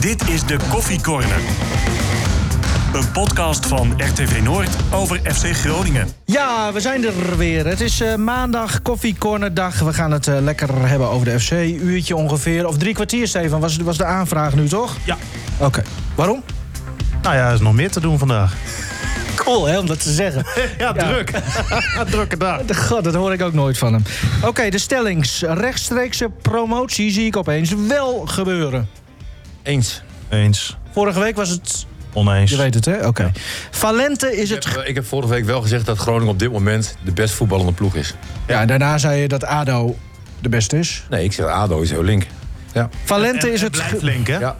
Dit is de Koffie Corner. Een podcast van RTV Noord over FC Groningen. Ja, we zijn er weer. Het is eh, maandag, koffiecornerdag. We gaan het eh, lekker hebben over de FC. Uurtje ongeveer, of drie kwartier, Stefan, was, was de aanvraag nu, toch? Ja. Oké. Waarom? Nou ja, er is nog meer te doen vandaag. Cool, hè, om dat te zeggen. Ja, druk. Drukke dag. God, dat hoor ik ook nooit van hem. Oké, de stellings. Rechtstreekse promotie zie ik opeens wel gebeuren. Eens. Eens. Vorige week was het... Oneens. Je weet het, hè? Oké. Valente is Ik het... heb, eh, ik heb vorige week wel gezegd dat Groningen op dit moment de best voetballende ploeg is. Ja, en daarna zei je dat ADO de beste is. Nee, ik zeg ADO is heel link. Ja. Valente En- is en het... Blijft link, hè? ja.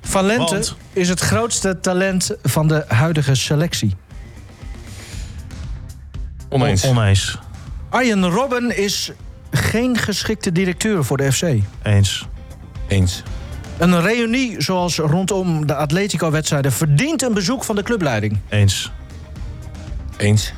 Valente Want- is het grootste talent van de huidige selectie. Oneens. Oneens. Arjen Robben is geen geschikte directeur voor de FC. Eens. Eens. Een reunie zoals rondom de Atletico-wedstrijden verdient een bezoek van de clubleiding. Eens. Eens.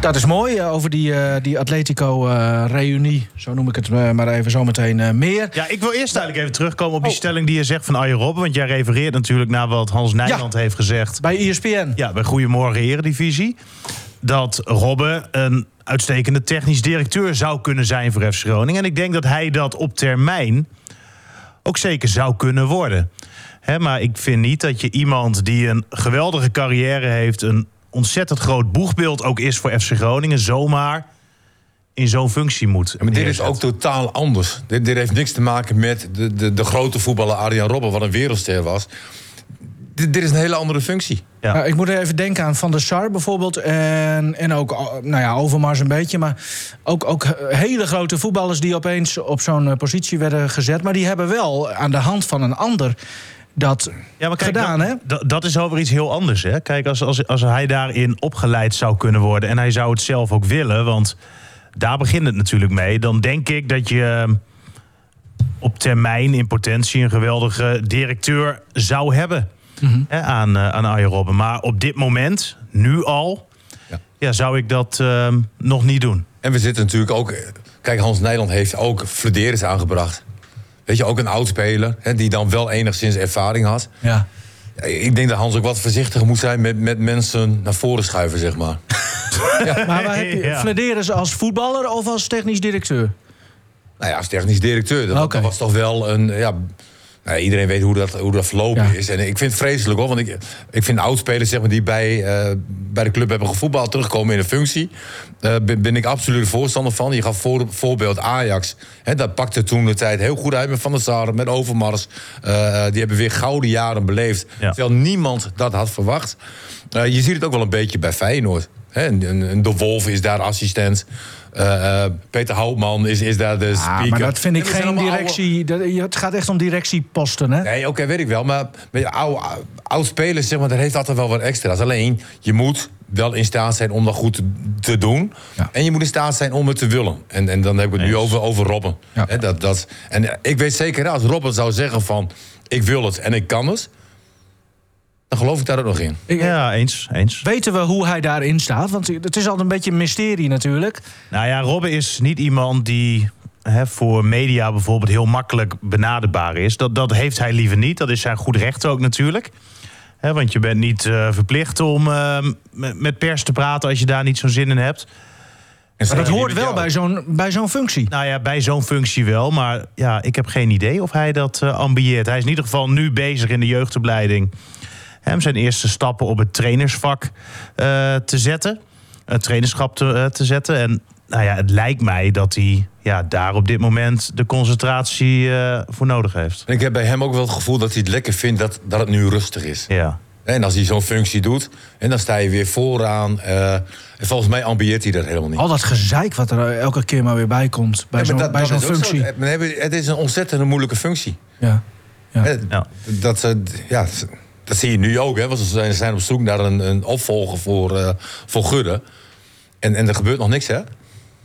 Dat is mooi eh, over die, eh, die Atletico-reunie. zo noem ik het eh, maar even zometeen eh, meer. Ja, ik wil eerst eigenlijk even terugkomen op die stelling die je zegt van Arjen Robben. Want jij refereert natuurlijk naar wat Hans Nijland heeft gezegd. Bij E ESPN. Ja, bij Goedemorgen Eredivisie. Dat Robben een uitstekende technisch directeur zou kunnen zijn voor FC Groningen. En ik denk dat hij dat op termijn ook zeker zou kunnen worden. Hè, maar ik vind niet dat je iemand die een geweldige carrière heeft... een ontzettend groot boegbeeld ook is voor FC Groningen... zomaar in zo'n functie moet. Ja, maar dit is neerzetten. ook totaal anders. Dit, dit heeft niks te maken met de, de, de grote voetballer Arjen Robben, wat een wereldster was. Dit, dit is een hele andere functie. Ja. Nou, ik moet er even denken aan Van der Sar bijvoorbeeld. En, en ook oh, nou ja, Overmars een beetje. Maar ook, ook hele grote voetballers die opeens op zo'n eh, positie werden gezet. Maar die hebben wel aan de hand van een ander dat Ja, maar kijk, gedaan. dat, hè? dat- dat is over iets heel anders. Hè? Kijk, als, als, als hij daarin opgeleid zou kunnen worden... en hij zou het zelf ook willen, want daar begint het natuurlijk mee... dan denk ik dat je eh, op termijn in potentie... een geweldige directeur zou hebben Mhm. hè, aan, eh, aan Arjen Robben. Maar op dit moment, nu al, ja. Ja. zou ik dat eh, nog niet doen. En we zitten natuurlijk ook. eh, Kijk, Hans Nijland heeft ook Flederis aangebracht. Weet je, ook een oud speler, hè, die dan wel enigszins ervaring had. Ja. Ja, Ik denk dat Hans ook wat voorzichtiger moet zijn met, met mensen naar voren schuiven, zeg maar. Maar waar heb je Ja. Flederis als voetballer of als technisch directeur? Nou ja, als technisch directeur. Dat, dat Oké. was toch wel een. Ja, nou, iedereen weet hoe dat, hoe dat verlopen Ja. is. En ik vind het vreselijk hoor. Want ik, ik vind oudspelers zeg maar, die bij, eh, bij de club hebben gevoetbald terugkomen in een functie. eh, ben, ben ik absoluut voorstander van. Je gaf voor, voorbeeld Ajax. Hè, dat pakte toen de tijd heel goed uit met Van der Sar, met Overmars. Eh, die hebben weer gouden jaren beleefd. Ja. Terwijl niemand dat had verwacht. Eh, je ziet het ook wel een beetje bij Feyenoord. Hè, een- een- een de Wolf is daar assistent. Eh, eh, Peter Houtman is, is daar de Ah, maar speaker. dat vind ik Ja, dat zijn geen allemaal directie. dat- Het gaat echt om directieposten. Hè? oude- Nee, oké, weet ik wel. Maar met oude, oud spelers, zeg maar, dat heeft altijd wel wat extra's. Alleen, je moet wel in staat zijn om dat goed te, te doen. Ja. En je moet in staat zijn om het te willen. En, en dan heb ik het nu over, over Robben. Ja. Hè, dat, dat, en eh, ik weet zeker, als Robben zou zeggen van... ik wil het en ik kan het... dan geloof ik daar ook nog in. Ja, eens, eens. Weten we hoe hij daarin staat? Want het is altijd een beetje een mysterie natuurlijk. Nou ja, Robben is niet iemand die hè, voor media bijvoorbeeld heel makkelijk benaderbaar is. Dat, dat heeft hij liever niet. Dat is zijn goed recht ook natuurlijk. Hè, want je bent niet eh, verplicht om eh, met, met pers te praten als je daar niet zo'n zin in hebt. En Maar dat zeker hoort met wel jou. bij zo'n, bij zo'n functie. Nou ja, bij zo'n functie wel. Maar ja, ik heb geen idee of hij dat eh, ambieert. Hij is in ieder geval nu bezig in de jeugdopleiding. Hem zijn eerste stappen op het trainersvak eh, te zetten. Het trainerschap te, eh, te zetten. En nou ja, het lijkt mij dat hij ja, daar op dit moment de concentratie eh, voor nodig heeft. En ik heb bij hem ook wel het gevoel dat hij het lekker vindt dat, dat het nu rustig is. Ja. En als hij zo'n functie doet, en dan sta je weer vooraan. eh, en volgens mij ambieert hij dat helemaal niet. Al dat gezeik wat er eh, elke keer maar weer bij komt. Bij Ja, maar zo'n, dat- bij dat zo'n is ook functie. zo. Eh, maar hebben- Het is een ontzettend moeilijke functie. Ja. Ja. Hè, Ja. Dat, ze- ja, ze- dat zie je nu ook, hè, want ze zijn- zijn op zoek naar een, een opvolger voor, eh voor Gudde. En, en er gebeurt nog niks, hè?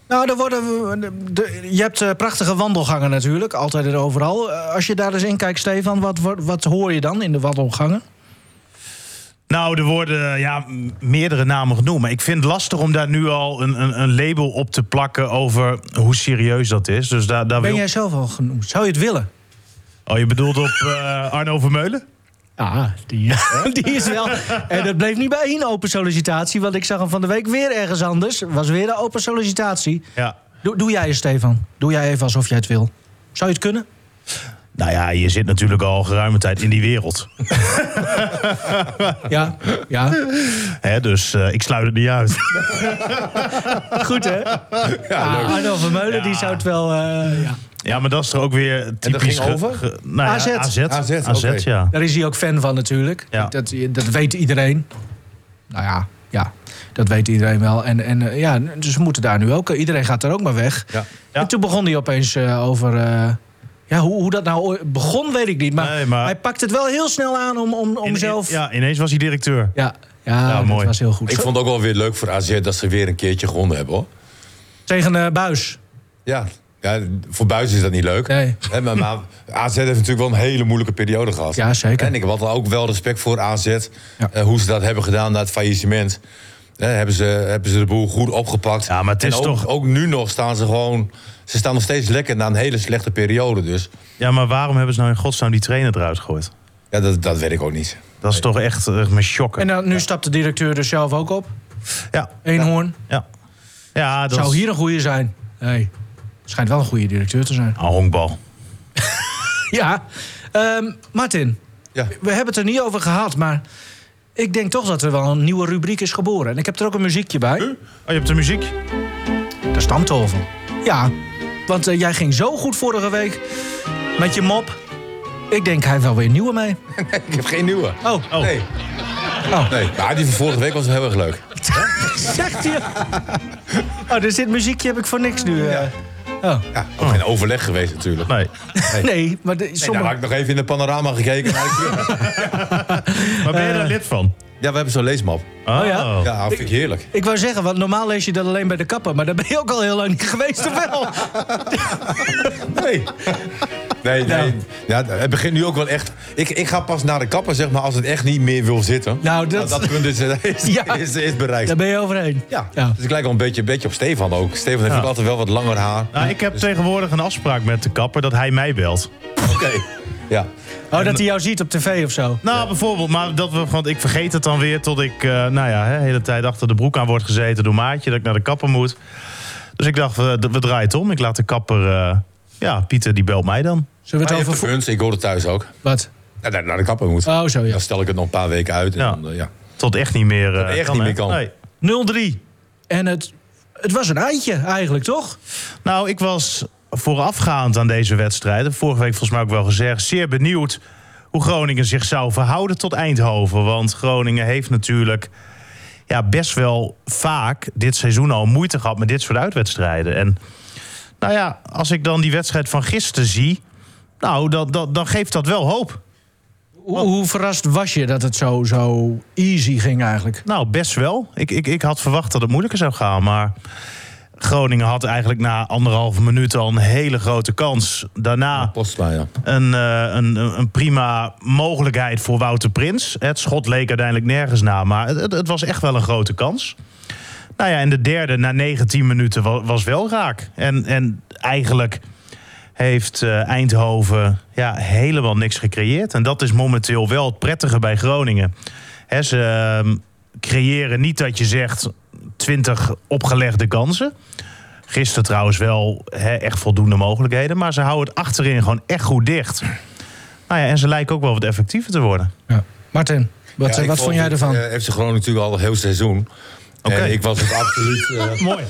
Nou, er worden, we- de- de- je hebt eh, prachtige wandelgangen natuurlijk, altijd en overal. Eh, Als je daar eens in kijkt, Stefan, wat, wat, wat hoor je dan in de wandelgangen? Nou, er worden eh, ja, m- meerdere namen genoemd. Maar ik vind het lastig om daar nu al een, een, een label op te plakken over hoe serieus dat is. Dus daar, daar Ben wil... jij zelf al genoemd? Zou je het willen? Oh, je bedoelt op eh, Arno Vermeulen? Ja, die, die is wel. En dat bleef niet bij één open sollicitatie. Want ik zag hem van de week weer ergens anders. Was weer een open sollicitatie. Ja. Doe, doe jij eens, Stefan. Doe jij even alsof jij het wil. Zou je het kunnen? Nou ja, je zit natuurlijk al geruime tijd in die wereld. Ja. ja. Hè, dus eh, ik sluit het niet uit. Goed, hè? Ah, Ja, Ah, Arno Vermeulen, die zou het wel... eh, ja. Ja, maar dat is er ook weer typisch... ging ge- over? ge- nou ja, AZ. AZ. AZ, AZ, oké. ja. Daar is hij ook fan van natuurlijk. Ja. Dat, dat weet iedereen. Nou ja, ja, dat weet iedereen wel. En, en eh, ja, dus we moeten daar nu ook... Iedereen gaat er ook maar weg. Ja. Ja. En toen begon hij opeens eh, over... eh, ja, hoe, hoe dat nou ooit begon, weet ik niet. Maar, Nee, maar- hij pakt het wel heel snel aan om, om, om In- in- zelf... ja, ineens was hij directeur. ja, ja, Ja, dat mooi. was heel goed. Ik vond het ook wel weer leuk voor AZ dat ze weer een keertje gewonnen hebben, hoor. Tegen eh, Buis. Ja, ja voor Buis is dat niet leuk. Nee. Hè, maar, maar AZ heeft natuurlijk wel een hele moeilijke periode gehad. Ja, zeker. En ik had ook wel respect voor AZ. eh, hoe ze dat hebben gedaan na het faillissement. Hè, hebben, ze, hebben ze de boel goed opgepakt. Ja, maar het En is ook, toch- Ook nu nog staan ze gewoon... Ze staan nog steeds lekker na een hele slechte periode. Dus Ja, maar waarom hebben ze nou in godsnaam die trainer eruit gegooid? ja, dat, dat weet ik ook niet. Dat is toch echt eh, mijn shock. En dan, nu stapt de directeur dus zelf ook op. Ja, Eenhoorn. ja. Ja, dat Zou is- hier een goede zijn? Nee. Schijnt wel een goede directeur te zijn. Ah, honkbal. Ja, Ehm, Martin, Ja. we hebben het er niet over gehad, maar ik denk toch dat er wel een nieuwe rubriek is geboren. En ik heb er ook een muziekje bij. Oh, je hebt de muziek? De Stamtolven. Ja, want eh, jij ging zo goed vorige week met je mop. Ik denk, hij heeft wel weer nieuwe mee. Ik heb geen nieuwe. Oh, Oh. Nee. Oh. Nee, maar die van vorige week was wel heel erg leuk. zegt hij. Oh, dus dit muziekje heb ik voor niks nu. eh. Oh. Ja, ook geen overleg geweest natuurlijk. Nee. Nee, maar de- Nee, daar sommige... had ik nog even in de panorama gekeken. Maar ik- Maar ben je daar lid van? ja, we hebben zo'n leesmap. Oh, Eh. ja. Ja, vind ik heerlijk. Ik wou zeggen, want normaal lees je dat alleen bij de kapper, maar daar ben je ook al heel lang niet geweest, of wel? Nee. Nee, nee. Nou. Ja, het begint nu ook wel echt. Ik, ik ga pas naar de kapper, zeg maar, als het echt niet meer wil zitten. Nou, dat- dat punt is, eh, is, Ja. is, is bereikt. Daar ben je overheen. Ja. ja. Dus ik lijk wel een beetje, een beetje op Stefan ook. Stefan heeft ook altijd wel wat langer haar. Nou, ik heb tegenwoordig een afspraak met de kapper dat hij mij belt. Ah, Oké. Ja. Oh, dat hij jou ziet op tv of zo. Nou, bijvoorbeeld, maar dat we, want ik vergeet het dan weer tot ik, eh, nou ja, hè, de hele tijd achter de broek aan wordt gezeten door Maatje, dat ik naar de kapper moet. Dus ik dacht, we, we draaien het om. Ik laat de kapper, eh, ja, Pieter die belt mij dan. Zullen Maar we Ah, je het over hebt de vo- punts, ik hoor het thuis ook. Wat? Ja, Naar, naar de kapper moet. Oh, zo ja. Dan stel ik het nog een paar weken uit. En Ja. dan, eh, ja. Tot echt niet meer eh, echt kan, niet hè? meer kan. Nee. 0-3. En het, het was een eitje eigenlijk, toch? Nou, ik was voorafgaand aan deze wedstrijden, vorige week volgens mij ook wel gezegd, zeer benieuwd hoe Groningen zich zou verhouden tot Eindhoven. Want Groningen heeft natuurlijk ja, best wel vaak dit seizoen al moeite gehad met dit soort uitwedstrijden. En nou ja, als ik dan die wedstrijd van gisteren zie, nou, dan, dan, dan geeft dat wel hoop. Hoe, hoe verrast was je dat het zo, zo easy ging eigenlijk? Nou, best wel. Ik, ik, ik had verwacht dat het moeilijker zou gaan, maar... Groningen had eigenlijk na anderhalve minuut al een hele grote kans. Ah. Daarna Postma, ja. een, eh, een, een prima mogelijkheid voor Wouter Prins. Het schot leek uiteindelijk nergens na, maar het, het- het was echt wel een grote kans. Nou ja, en de derde na 19 minuten was, was wel raak. En, en eigenlijk heeft eh, Eindhoven ja, helemaal niks gecreëerd. En dat is momenteel wel het prettige bij Groningen. Hè, ze ehm, creëren niet dat je zegt 20 opgelegde kansen. Gisteren trouwens wel hè, echt voldoende mogelijkheden. Maar ze houden het achterin gewoon echt goed dicht. Nou ja, en ze lijken ook wel wat effectiever te worden. Ja. Martin, wat, Ja, eh, ik wat vond jij ervan? eh, FC Groningen natuurlijk al een heel seizoen. En ik was ook absoluut, eh, Mooi.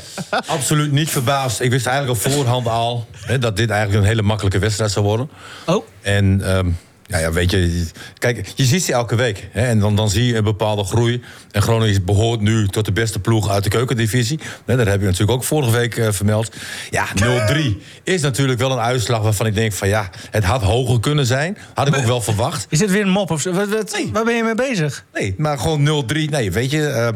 absoluut niet verbaasd. Ik wist eigenlijk op voorhand al hè, dat dit eigenlijk een hele makkelijke wedstrijd zou worden. oh, En ehm, ja, ja, weet je, kijk, je ziet ze elke week. Hè, en dan, dan zie je een bepaalde groei. En Groningen is- behoort nu tot de beste ploeg uit de keukendivisie. Hè, dat heb je natuurlijk ook vorige week eh, vermeld. Ja, 0-3 is natuurlijk wel een uitslag waarvan ik denk van ja, het had hoger kunnen zijn. Had ik ook wel verwacht. is dit weer een mop of zo? Wat, wat- Nee. Waar ben je mee bezig? Nee, maar gewoon 0-3. Nee, weet je. ehm,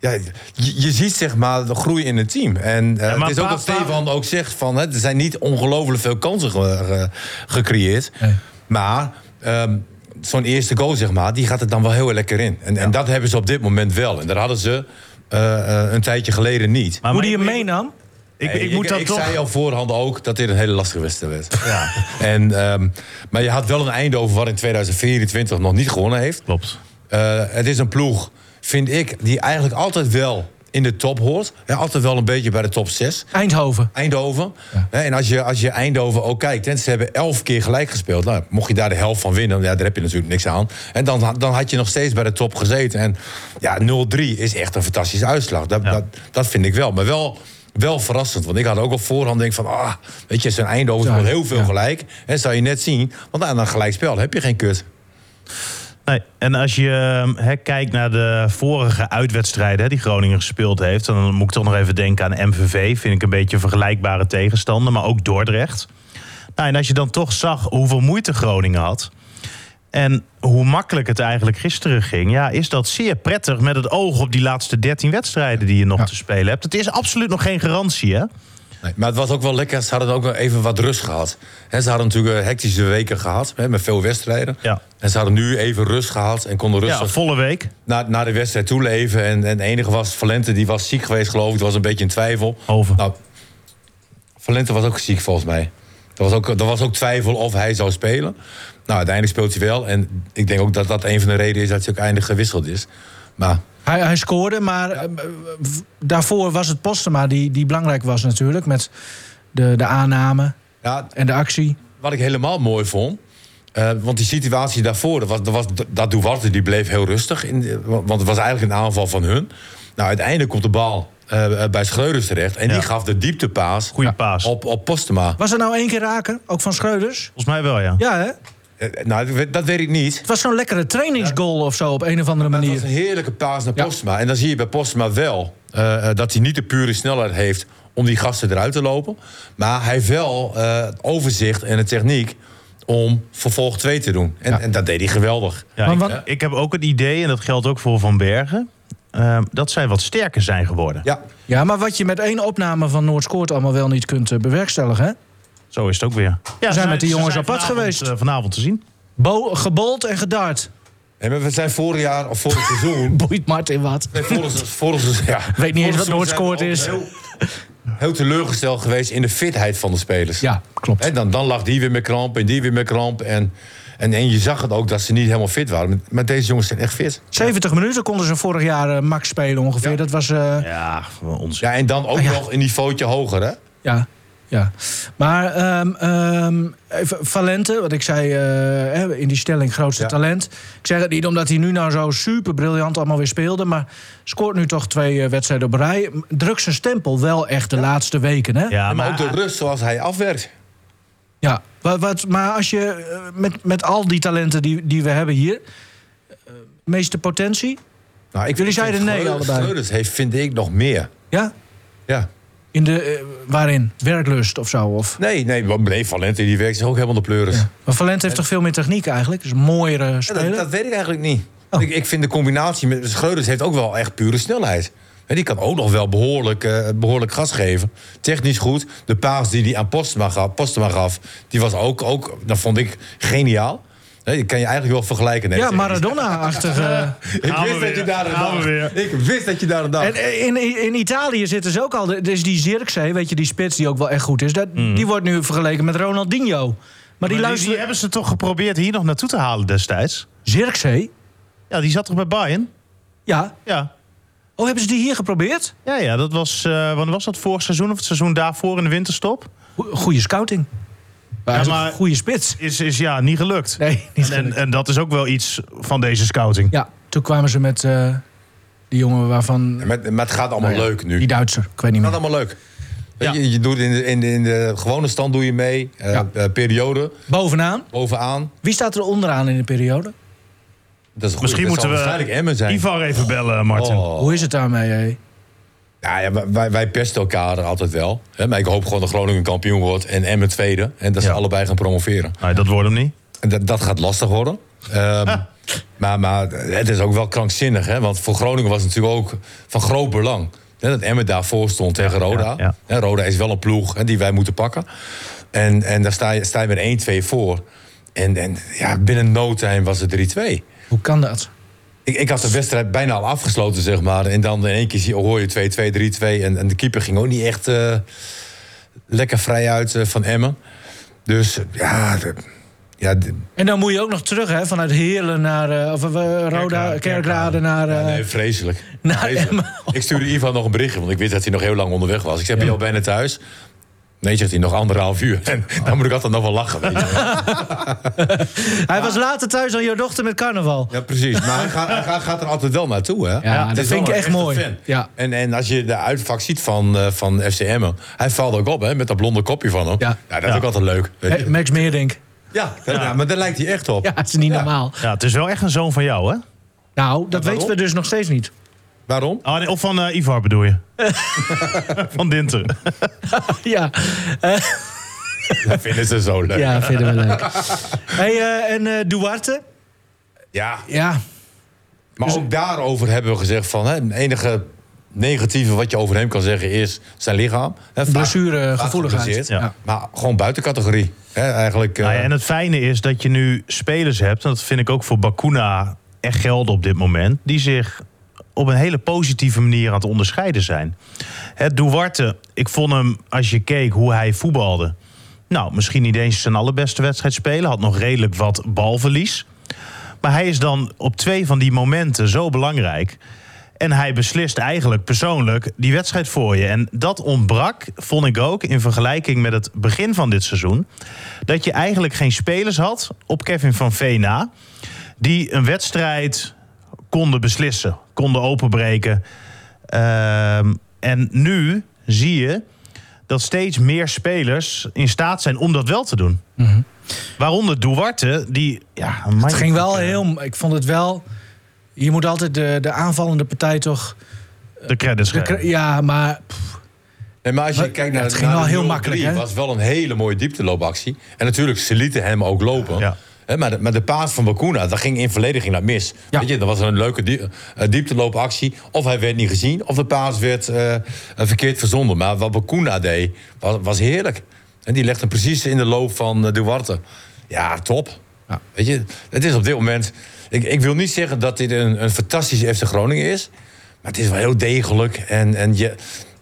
ja, je, je ziet zeg maar de groei in het team. En eh, maar het is ook pa- wat Stefan ook zegt: van, hè, er zijn niet ongelooflijk veel kansen ge- ge- gecreëerd. Nee. Maar ehm, zo'n eerste goal, zeg maar, die gaat het dan wel heel lekker in. En, en dat hebben ze op dit moment wel. En dat hadden ze eh, eh, een tijdje geleden niet. Maar- Hoe die ik- hem ik- meenam? Ik, Nee, ik, moet dat ik toch... zei al voorhand ook dat dit een hele lastige wedstrijd werd. En, ehm, maar je had wel een Eindhoven wat in 2024 nog niet gewonnen heeft. Klopt. Eh, het is een ploeg, vind ik, die eigenlijk altijd wel in de top hoort. Hè, altijd wel een beetje bij de top 6. Eindhoven. Eindhoven. Hè, En als je, als je Eindhoven ook kijkt, hè, ze hebben elf keer gelijk gespeeld. Nou, mocht je daar de helft van winnen, ja, daar heb je natuurlijk niks aan. En dan, dan had je nog steeds bij de top gezeten. En ja, 0-3 is echt een fantastische uitslag. Dat, dat, dat vind ik wel. Maar wel, wel verrassend. Want ik had ook op voorhand denk van, ah, weet je, zijn Eindhoven speelt heel veel gelijk. En zou je net zien, want aan een gelijk spel heb je geen kut. Nee, en als je eh, hè, kijkt naar de vorige uitwedstrijden hè, die Groningen gespeeld heeft, dan moet ik toch nog even denken aan MVV. Vind ik een beetje een vergelijkbare tegenstander, maar ook Dordrecht. Nou, en als je dan toch zag hoeveel moeite Groningen had en hoe makkelijk het eigenlijk gisteren ging, ja, is dat zeer prettig met het oog op die laatste 13 wedstrijden die je nog te spelen hebt. Het is absoluut nog geen garantie, hè? Nee, maar het was ook wel lekker. Ze hadden ook wel even wat rust gehad. Hè, ze hadden natuurlijk eh, hectische weken gehad hè, met veel wedstrijden. Ja. En ze hadden nu even rust gehad en konden rustig Ja, volle week. naar, naar de wedstrijd toe leven. En, en het enige was Valente, die was ziek geweest, geloof ik. Het was een beetje in twijfel. Over. Nou, Valente was ook ziek, volgens mij. Er was, ook, er was ook twijfel of hij zou spelen. Nou, uiteindelijk speelt hij wel. En ik denk ook dat dat een van de redenen is dat hij ook eindelijk gewisseld is. Maar Hij, hij scoorde, maar eh, v- daarvoor was het Postema die, die belangrijk was natuurlijk. Met de, de aanname ja, en de actie. Wat ik helemaal mooi vond. eh, want die situatie daarvoor, dat, was, dat, was, dat Duarte die bleef heel rustig. In, de- want het was eigenlijk een aanval van hun. Nou, uiteindelijk komt de bal eh, bij Schreuders terecht. En Ja. die gaf de dieptepaas Goeie paas. op, op Postema. Was er nou één keer raken? Ook van Schreuders? Volgens mij wel, ja. Ja, hè? Eh, nou, dat weet- dat weet ik niet. Het was zo'n lekkere trainingsgoal of zo op een of andere Het was manier. een heerlijke paas naar Ja. Postma. En dan zie je bij Postma wel eh, eh, dat hij niet de pure snelheid heeft om die gasten eruit te lopen. Maar hij heeft wel eh, het overzicht en de techniek om vervolg 2 te doen. En, en dat deed hij geweldig. Ja, Maar ik, eh, wat- ik heb ook het idee, en dat geldt ook voor Van Bergen... eh, dat zij wat sterker zijn geworden. Ja, Ja, maar wat je met één opname van Noord-Scoort allemaal wel niet kunt eh, bewerkstelligen. Hè? Zo is het ook weer. Ja, zijn met die jongens apart vanavond, geweest. eh, vanavond te zien. Bo, gebold en gedaard. Nee, maar we zijn vorig jaar, of vorig seizoen... Boeit Martin wat. Nee, vorig, vorig seizoen, ja. Weet niet eens wat Vorig seizoen Noordscoort zijn is. we ook Heel, heel teleurgesteld geweest in de fitheid van de spelers. Ja, klopt. En dan, dan lag die weer met kramp en die weer met kramp. En, en, en je zag het ook dat ze niet helemaal fit waren. Maar- Maar deze jongens zijn echt fit. 70 minuten konden ze vorig jaar eh, max spelen ongeveer. Dat was... eh, Ja, ons. Ja, en dan ook nog een niveautje hoger, hè? Ah, Ja, ja. Maar ehm, ehm, even Valente, wat ik zei eh, hè, in die stelling grootste Ja. talent. Ik zeg het niet omdat hij nu nou zo super briljant allemaal weer speelde. Maar scoort nu toch twee eh, wedstrijden op rij. Drukt zijn stempel wel echt de laatste weken. Hè? Ja, maar, maar, ook de rust zoals hij afwerkt. Ja, wat, wat, maar als je eh, met, met al die talenten die, die we hebben hier. eh, meeste potentie? Nou, ik Jullie vind zeiden nee Schreuders- allebei. Schreuders heeft, vind ik, nog meer. Ja? Ja. In de, eh, waarin? Werklust of zo? Of? Nee, nee, maar nee, Valente die werkt zich ook helemaal de pleuris. Maar Valente heeft toch veel meer techniek eigenlijk? Is een mooiere Ja, speler. dat, dat weet ik eigenlijk niet. Oh. Ik, ik vind de combinatie met Schreuders heeft ook wel echt pure snelheid. Hè, die kan ook nog wel behoorlijk, eh, behoorlijk gas geven. Technisch goed. De paas die hij aan Postma gaf, Postma gaf die was ook, ook, dat vond ik geniaal. Hè, Die kan je eigenlijk wel vergelijken. Nee, ja, dat is- Maradona-achtige. eh, Ik Gaan we wist dat je weer, daar aan gaan we dacht. weer. Ik wist dat je daar aan dacht. En eh, in, in- in Italië zitten ze ook al. Er is die Zirkzee, weet je, die spits die ook wel echt goed is. Dat, Die wordt nu vergeleken met Ronaldinho. Maar, die Hmm. die, luisteren. die hebben ze toch geprobeerd hier nog naartoe te halen destijds? Zirkzee? Ja, die zat toch bij Bayern? Ja. Ja. Oh, hebben ze die hier geprobeerd? Ja, ja, dat was... eh wanneer was dat? Vorig seizoen of het seizoen daarvoor in de winterstop? Go- Goede scouting. Ja, maar- Goede spits. Is, is ja, niet gelukt. Nee, niet En, gelukt. en dat is ook wel iets van deze scouting. Ja, toen kwamen ze met eh, die jongen waarvan. Maar, maar het gaat allemaal nou ja, leuk nu. Die Duitser, ik weet niet Het meer. gaat allemaal leuk. Weet Ja. Je, je doet in de, in, de, in de gewone stand doe je mee. eh, Ja. eh, periode, Bovenaan. bovenaan. Wie staat er onderaan in de periode? Dat is goed. Misschien dat moeten zal we waarschijnlijk Emmen zijn. Ivar even bellen, eh, Martin. Oh. Hoe is het daarmee? eh? hé? Nou Ja, ja, wij, wij pesten elkaar altijd wel. Hè? Maar ik hoop gewoon dat Groningen kampioen wordt en Emmen tweede. En dat ze Ja. allebei gaan promoveren. Nee, dat wordt hem niet. En dat, dat gaat lastig worden. Ehm, maar, maar het is ook wel krankzinnig. Hè? Want voor Groningen was het natuurlijk ook van groot belang. Hè? Dat Emmen daarvoor stond tegen Roda. ja. Hè, Roda is wel een ploeg hè, die wij moeten pakken. En, en daar sta je, sta je met 1-2 voor. En, en ja, binnen no time was het 3-2. Hoe kan dat? Ik, ik had de wedstrijd bijna al afgesloten, zeg maar. En dan in één keer zie, hoor je 2-2, 3-2. En, en de keeper ging ook niet echt eh, lekker vrij uit eh, van Emmen. Dus ja, de- ja de- En dan moet je ook nog terug, hè, vanuit Heerlen naar eh, of, eh, Roda, Kerkrade, Kerkrade naar. Ja, eh, nee, vreselijk. Nou, Vreselijk. Emma. Ik stuurde Ivan nog een berichtje, want ik wist dat hij nog heel lang onderweg was. Ik zei, ben je al bijna thuis? Nee, zegt hij, nog anderhalf uur. En dan moet ik altijd nog wel lachen. Weet je. wel. Hij was later thuis dan jouw dochter met carnaval. Ja, precies. Maar hij gaat, hij gaat- gaat er altijd wel naartoe, hè? Ja, Het dat is wel vind ik een echt echte mooi. fan. Ja. En, en als je de uitvak ziet van, eh van FC Emmen... Hij valt ook op, hè, met dat blonde kopje van hem. Ja. Ja, dat is ook altijd leuk. weet je. Hè, Max Meerdink. Ja, dat- ja, maar daar lijkt hij echt op. Ja, het is niet Ja. normaal. Ja, het is wel echt een zoon van jou, hè? Nou, dat waarom? weten we dus nog steeds niet. Waarom? Oh, nee, of van eh, Ivar bedoel je? van Dinter. ja, Dat vinden ze zo leuk. Ja. ja, vinden we leuk. Hey, eh, en eh, Duarte? Ja, Maar Dus- ook daarover hebben we gezegd van... Hè, het enige negatieve wat je over hem kan zeggen is zijn lichaam. Hè, vaak- vaak blessuregevoeligheid. geblesseerd. Ja. Ja. Maar gewoon buiten categorie. Hè, eigenlijk, eh, Nou ja, en het fijne is dat je nu spelers hebt, en dat vind ik ook voor Bakuna en Gelder op dit moment, die zich op een hele positieve manier aan het onderscheiden zijn. Hè, Duarte, ik vond hem, als je keek hoe hij voetbalde, nou, misschien niet eens zijn allerbeste wedstrijd spelen, had nog redelijk wat balverlies. Maar hij is dan op twee van die momenten zo belangrijk. En hij beslist eigenlijk persoonlijk die wedstrijd voor je. En dat ontbrak, vond ik ook, in vergelijking met het begin van dit seizoen. Dat je eigenlijk geen spelers had op Kevin van Veen na. Die een wedstrijd konden beslissen, konden openbreken. Ehm, en nu zie je dat steeds meer spelers in staat zijn om dat wel te doen. Waaronder Duarte, die... Ja, Mhm. Het ging wel heel... Ik vond het wel... Je moet altijd de, de aanvallende partij toch... De credits de geven. kra- ja, maar nee, maar als je Maar- kijkt ja, naar het ging naar wel de heel 0-3, makkelijk, hè? was wel een hele mooie diepteloopactie. En natuurlijk, ze lieten hem ook lopen. Ja. Hè, maar, de, maar de paas van Bakuna, dat ging in verleden ging dat mis. Ja. Weet je, dat was een leuke die, eh, diepteloopactie. Of hij werd niet gezien, of de paas werd eh, eh, verkeerd verzonden. Maar wat Bakuna deed, was, was heerlijk. En die legde hem precies in de loop van eh, Duarte. Ja, top. Ja. Weet je, het is op dit moment... Ik, ik wil niet zeggen dat dit een, een fantastische FC Groningen is. Maar het is wel heel degelijk. En, en je,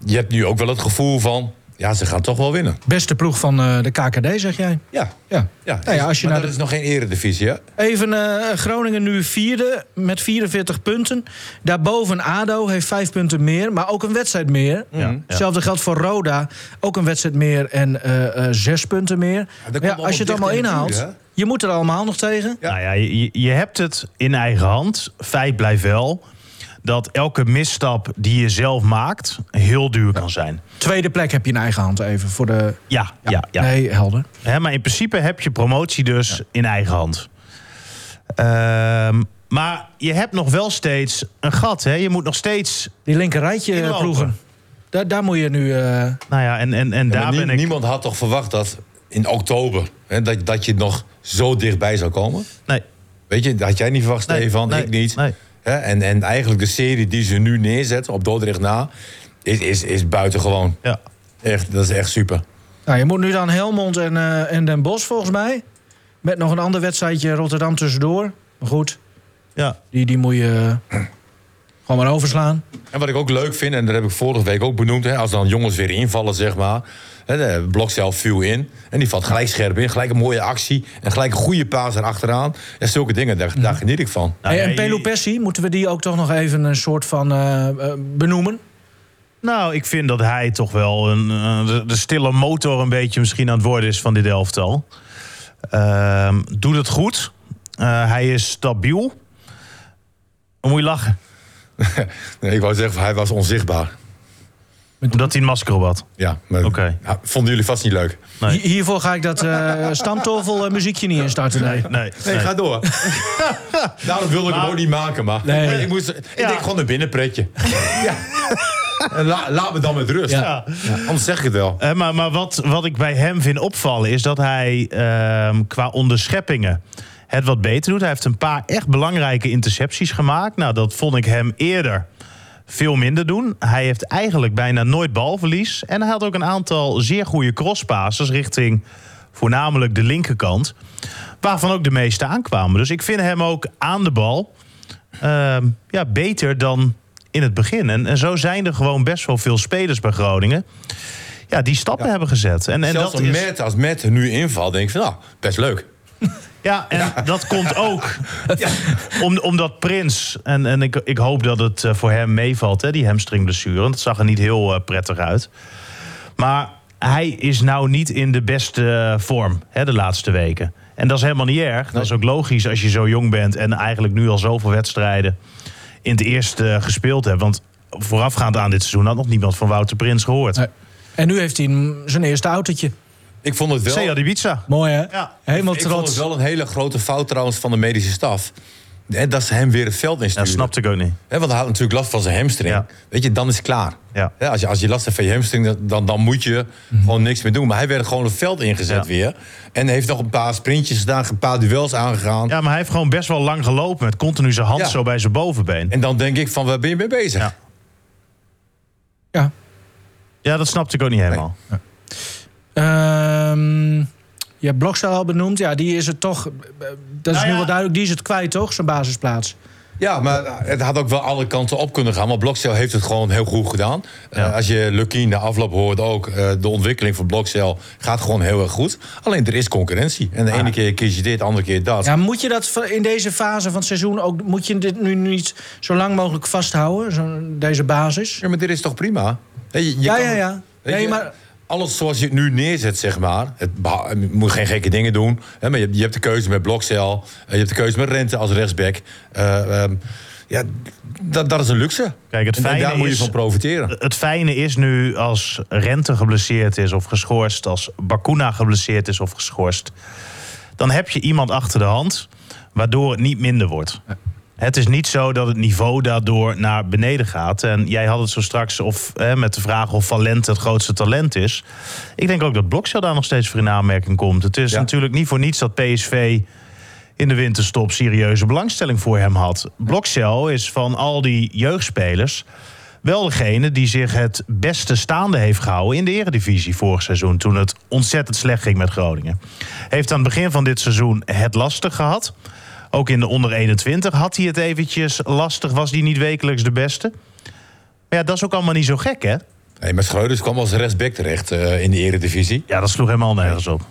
je hebt nu ook wel het gevoel van... Ja, ze gaan toch wel winnen. beste ploeg van eh, de KKD, zeg jij? Ja. Ja. ja. Nou ja, als je maar naar dat de- is nog geen eredivisie, hè? Even eh, Groningen nu vierde met 44 punten. Daarboven ADO heeft vijf punten meer, maar ook een wedstrijd meer. Ja, ja. Hetzelfde geldt voor Roda, ook een wedstrijd meer en eh, eh, zes punten meer. dat Ja, komt als je het allemaal allemaal dicht in de inhaalt, buurt, hè? je moet er allemaal nog tegen. Ja. Nou ja, je, je hebt het in eigen hand. Feit blijft wel dat elke misstap die je zelf maakt heel duur kan zijn. Tweede plek heb je in eigen hand even voor de... Ja, ja, ja. Nee, helder. Hè, maar in principe heb je promotie dus in eigen hand. Ehm, maar je hebt nog wel steeds een gat. Hè? Je moet nog steeds. Die linker rijtje Inlopen. ploegen. Daar, daar moet je nu... eh, Nou ja, en, en, en Ja, daar maar nie- ben ik. Niemand had toch verwacht dat in oktober... Hè, dat, dat je nog zo dichtbij zou komen? Nee, Weet je, dat had jij niet verwacht, Nee, Stefan, nee, ik niet. nee. Hè, en, en eigenlijk de serie die ze nu neerzetten op Dordrecht na... is, is, is buitengewoon. ja. Echt, dat is echt super. Nou, je moet nu dan Helmond en, eh, en Den Bosch volgens mij. Met nog een ander wedstrijdje Rotterdam tussendoor. Maar goed, ja. die, die moet je eh, gewoon maar overslaan. En wat ik ook leuk vind, en dat heb ik vorige week ook benoemd... Hè, als dan jongens weer invallen, zeg maar... Hè, de blok zelf viel in en die valt gelijk scherp in. Gelijk een mooie actie en gelijk een goede paas erachteraan. En zulke dingen, daar, Mhm. daar geniet ik van. Hey, Nou, ja, Eh, en je- Pelopessi, moeten we die ook toch nog even een soort van eh, eh, benoemen? Nou, ik vind dat hij toch wel een, eh, de, de stille motor een beetje misschien aan het worden is van dit elftal. Ehm, doet het goed. Eh, hij is stabiel. Dan moet je lachen, Nee, ik wou zeggen, hij was onzichtbaar. omdat hij een masker op had. Ja, maar Oké. Ja, vonden jullie vast niet leuk. Nee. Hi- Hiervoor ga ik dat eh stamtoffel eh, muziekje niet instarten. Nee. Nee, Nee, nee. ga door. Daarom wilde ik hem Maar- ook niet maken, maar Nee. ik, moest, ik Ja. denk gewoon een binnenpretje. ja. En la- laat me dan met rust. Ja. Anders zeg ik het wel. Eh, maar maar wat, wat ik bij hem vind opvallen is dat hij ehm, qua onderscheppingen het wat beter doet. Hij heeft een paar echt belangrijke intercepties gemaakt. Nou, dat vond ik hem eerder veel minder doen. Hij heeft eigenlijk bijna nooit balverlies. En hij had ook een aantal zeer goede crosspases richting voornamelijk de linkerkant. Waarvan ook de meeste aankwamen. Dus ik vind hem ook aan de bal ehm, ja, beter dan in het begin. En, en zo zijn er gewoon best wel veel spelers bij Groningen. Ja, die stappen hebben gezet. En, en Zelfs dat als is, Mert, als Mert nu invalt, denk ik van, nou, best leuk. Ja, en dat komt ook om, omdat Prins... en, en ik, ik hoop dat het eh, voor hem meevalt, hè, die hamstringblessure. want Dat zag er niet heel eh, prettig uit. Maar hij is nou niet in de beste eh, vorm hè, de laatste weken. En dat is helemaal niet erg. Dat is ook logisch als je zo jong bent... en eigenlijk nu al zoveel wedstrijden in het eerst eh, gespeeld hebt. Want voorafgaand aan dit seizoen had nog niemand van Wouter Prins gehoord. Nee. En nu heeft hij een- zijn eerste autootje. Ik vond het wel... Sead Ibiza. Mooi hè? Ja. Helemaal Ik vond het trots. wel een hele grote fout trouwens van de medische staf. En dat ze hem weer het veld Dat insturen. snapte ik ook niet. Hè, want hij had natuurlijk last van zijn hamstring. Ja. Weet je, dan is het klaar. Ja. Mhm. Hè, als, je, als je last hebt van je hamstring, dan- dan, dan moet je gewoon niks meer doen. Maar hij werd gewoon het veld ingezet Ja. weer. En heeft nog een paar sprintjes gedaan, een paar duels aangegaan. Ja, maar hij heeft gewoon best wel lang gelopen... met continu zijn hand Ja. zo bij zijn bovenbeen. En dan denk ik van, waar ben je mee bezig? Ja. Ja. Ja, dat snapte ik ook niet helemaal. Ehm, je hebt Blokstad al benoemd. Ja, die is het toch. eh, Dat is Nou nu ja. wel duidelijk. Die is het kwijt, toch? Zijn basisplaats. Ja, maar eh, het had ook wel alle kanten op kunnen gaan. Maar Blokcel heeft het gewoon heel goed gedaan. Ja. Eh, als je Lucky de afloop hoort ook, eh, de ontwikkeling van Blokcel gaat gewoon heel erg goed. Alleen er is concurrentie. En de ene keer kies je dit, de andere keer dat. Ja, moet je dat va- in deze fase van het seizoen ook. Moet je dit nu niet zo lang mogelijk vasthouden? Zo, deze basis? Ja, maar dit is toch prima? Hè, je- je Ja, kan- ja, ja. weet Nee, je, maar- Alles zoals je het nu neerzet, zeg maar. Het beha- je moet geen gekke dingen doen. Hè, maar je, je hebt de keuze met Blokcel. eh, Je hebt de keuze met Rente als rechtsback. Eh, ehm, ja, dat, dat is een luxe. Kijk, het En- en fijne daar moet je is- van profiteren. Het fijne is nu als Rente geblesseerd is of geschorst, als Bakuna geblesseerd is of geschorst, dan heb je iemand achter de hand waardoor het niet minder wordt. Het is niet zo dat het niveau daardoor naar beneden gaat. En jij had het zo straks of, hè, met de vraag of Valente het grootste talent is. Ik denk ook dat Blokcel daar nog steeds voor in aanmerking komt. Het is Ja. natuurlijk niet voor niets dat PSV in de winterstop serieuze belangstelling voor hem had. Blokcel is van al die jeugdspelers wel degene die zich het beste staande heeft gehouden in de eredivisie vorig seizoen. Toen het ontzettend slecht ging met Groningen. Heeft aan het begin van dit seizoen het lastig gehad. Ook in de onder 21 had hij het eventjes lastig. Was hij niet wekelijks de beste. Maar ja, dat is ook allemaal niet zo gek, hè? Nee, maar Schreuders kwam als rechtsback terecht eh, in de eredivisie. Ja, dat sloeg helemaal nergens op.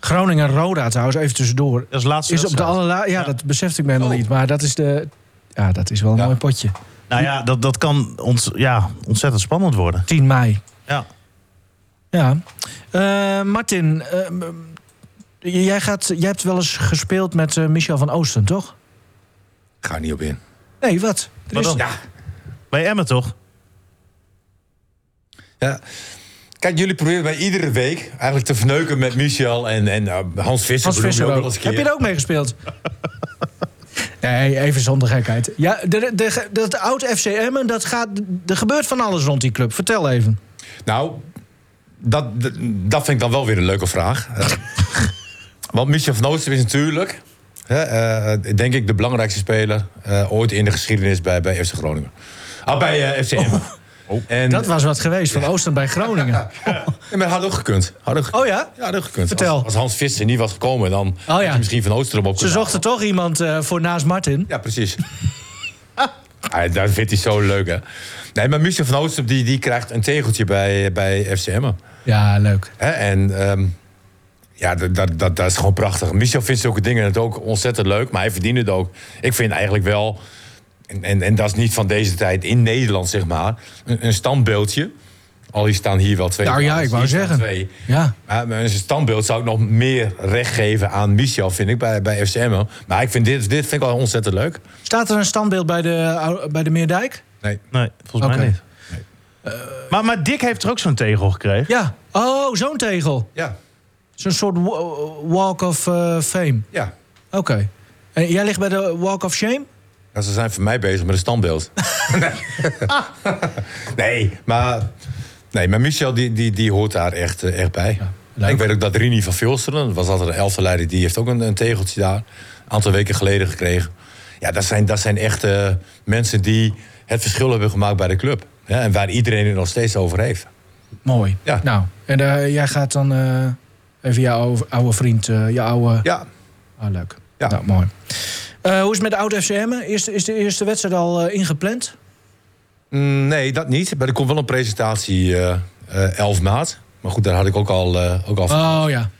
Groningen-Roda trouwens, even tussendoor. Dat is de laatste Is op de wedstrijd. allerla ja, dat besefte ik me helemaal Oh. niet. Maar dat is de. Ja, dat is wel een Ja. mooi potje. Nou ja, dat, dat kan ont, ja, ontzettend spannend worden. 10 mei. Ja. Ja. Eh, Martin, ehm, jij, gaat, jij hebt wel eens gespeeld met eh, Michel van Oosten, toch? Ik ga er niet op in. Nee, wat? Er Wat is- dan? Bij Emmen toch? Ja. Kijk, jullie proberen mij iedere week eigenlijk te verneuken met Michel en, en eh, Hans Visser. Hans bedoel ik Visser ook ook. wel eens een Heb je keer. er ook mee gespeeld? nee, even zonder gekheid. Ja, de, de, dat oud FCM, en dat gaat, er gebeurt van alles rond die club. Vertel even. Nou, dat, dat- dat vind ik dan wel weer een leuke vraag. Eh, Want Michel van Oosten is natuurlijk, hè, eh, denk ik, de belangrijkste speler eh, ooit in de geschiedenis bij, bij FC Groningen. Ah, bij eh FC Emmen. En, Oh. Dat was wat geweest van Oosten bij Groningen. Ja, maar had ook gekund. Had ook gekund. Oh ja? Ja, had ook gekund. Vertel. Oh, Als, als Hans Visser niet was gekomen, dan had ja. je misschien van Oosterom op Ze kunnen zochten toch iemand eh, voor naast Martin. Ja, precies. Ah, dat vindt hij zo leuk, hè? Nee, maar Michel van Oostrum die, die krijgt een tegeltje bij, eh, bij FC Emmen. Ja, leuk. Hè, En ehm, ja, dat, dat, dat, dat is gewoon prachtig. Michel vindt zulke dingen het ook ontzettend leuk, maar hij verdient het ook. Ik vind eigenlijk wel, en, en, en dat is niet van deze tijd in Nederland, zeg maar, een, een standbeeldje. Al die staan hier wel twee. Nou ja, ik wou Hier staan zeggen. Twee. Ja. Maar maar een standbeeld zou ik nog meer recht geven aan Michel, vind ik, bij, bij FC Emmen. Maar ik vind dit, dit vind ik wel ontzettend leuk. Staat er een standbeeld bij de, oude- bij de Meerdijk? Nee. Nee, volgens Oké. mij niet. maar, maar Dick heeft er ook zo'n tegel gekregen. Ja. Oh, zo'n tegel. Ja, Zo'n soort wa- walk of eh, fame. ja. Oké. En jij ligt bij de walk of shame? Ja, ze zijn voor mij bezig met een standbeeld. nee, maar, nee, maar Michel die, die, die hoort daar echt, eh, echt bij. leuk. ik weet ook dat Rini van Vilsteren, dat was altijd de elfde leider, die heeft ook een, een tegeltje daar. Een aantal weken geleden gekregen. Ja, dat zijn, dat zijn echt eh, mensen die het verschil hebben gemaakt bij de club. Ja, en waar iedereen het nog steeds over heeft. Mooi. Ja. Nou, en eh, jij gaat dan eh, Even jouw oude, oude vriend, eh je oude... Ja, Ah, leuk. Ja. Nou, mooi. Eh, hoe is het met de oude FCM? Is, de- is de eerste wedstrijd al eh, ingepland? Mm, nee, dat niet. Maar er komt wel een presentatie eh, eh, 11 maart. Maar goed, daar had ik ook al, eh, ook al van. Oh ja.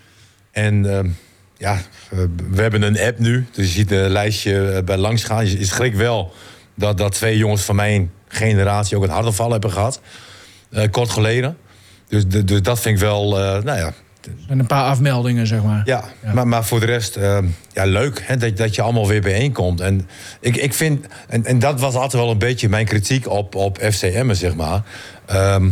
En ehm, ja, eh, we hebben een app nu. Dus je ziet een lijstje eh, bij langs gaan. Je, je schrikt wel dat, dat twee jongens van mijn generatie ook een hartaanval hebben gehad. eh, kort geleden. Dus, de- dus dat vind ik wel, eh, nou ja. En een paar afmeldingen, zeg maar. ja. Maar, maar voor de rest, ehm, ja, leuk hè, dat, dat je allemaal weer bijeenkomt. En ik, ik vind, en, en dat was altijd wel een beetje mijn kritiek op, op FCM'en, zeg maar. Ehm,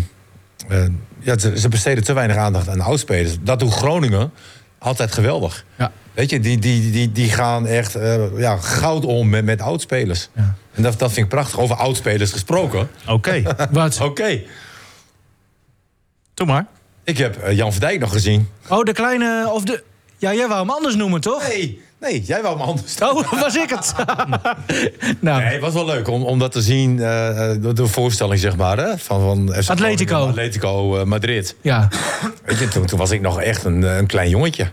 eh, ja, ze, ze besteden te weinig aandacht aan oudspelers. Dat doet Groningen altijd geweldig. Ja. Weet je, die, die, die, die gaan echt eh, ja, goud om met, met oudspelers. Ja. En dat, dat vind ik prachtig. Over oudspelers gesproken. Oké, Wat? Oké, doe maar. ik heb eh, Jan van Dijk nog gezien. Oh, de kleine... Of de... Ja, jij wou hem anders noemen, toch? Nee, nee jij wou me anders. Oh, was ik het? nou, Nee, het was wel leuk om, om dat te zien, eh, eh, de, de voorstelling zeg maar, hè, van, van FC Atletico. Groningen, Atletico eh, Madrid. ja. Weet je, toen, toen was ik nog echt een, eh, een klein jongetje.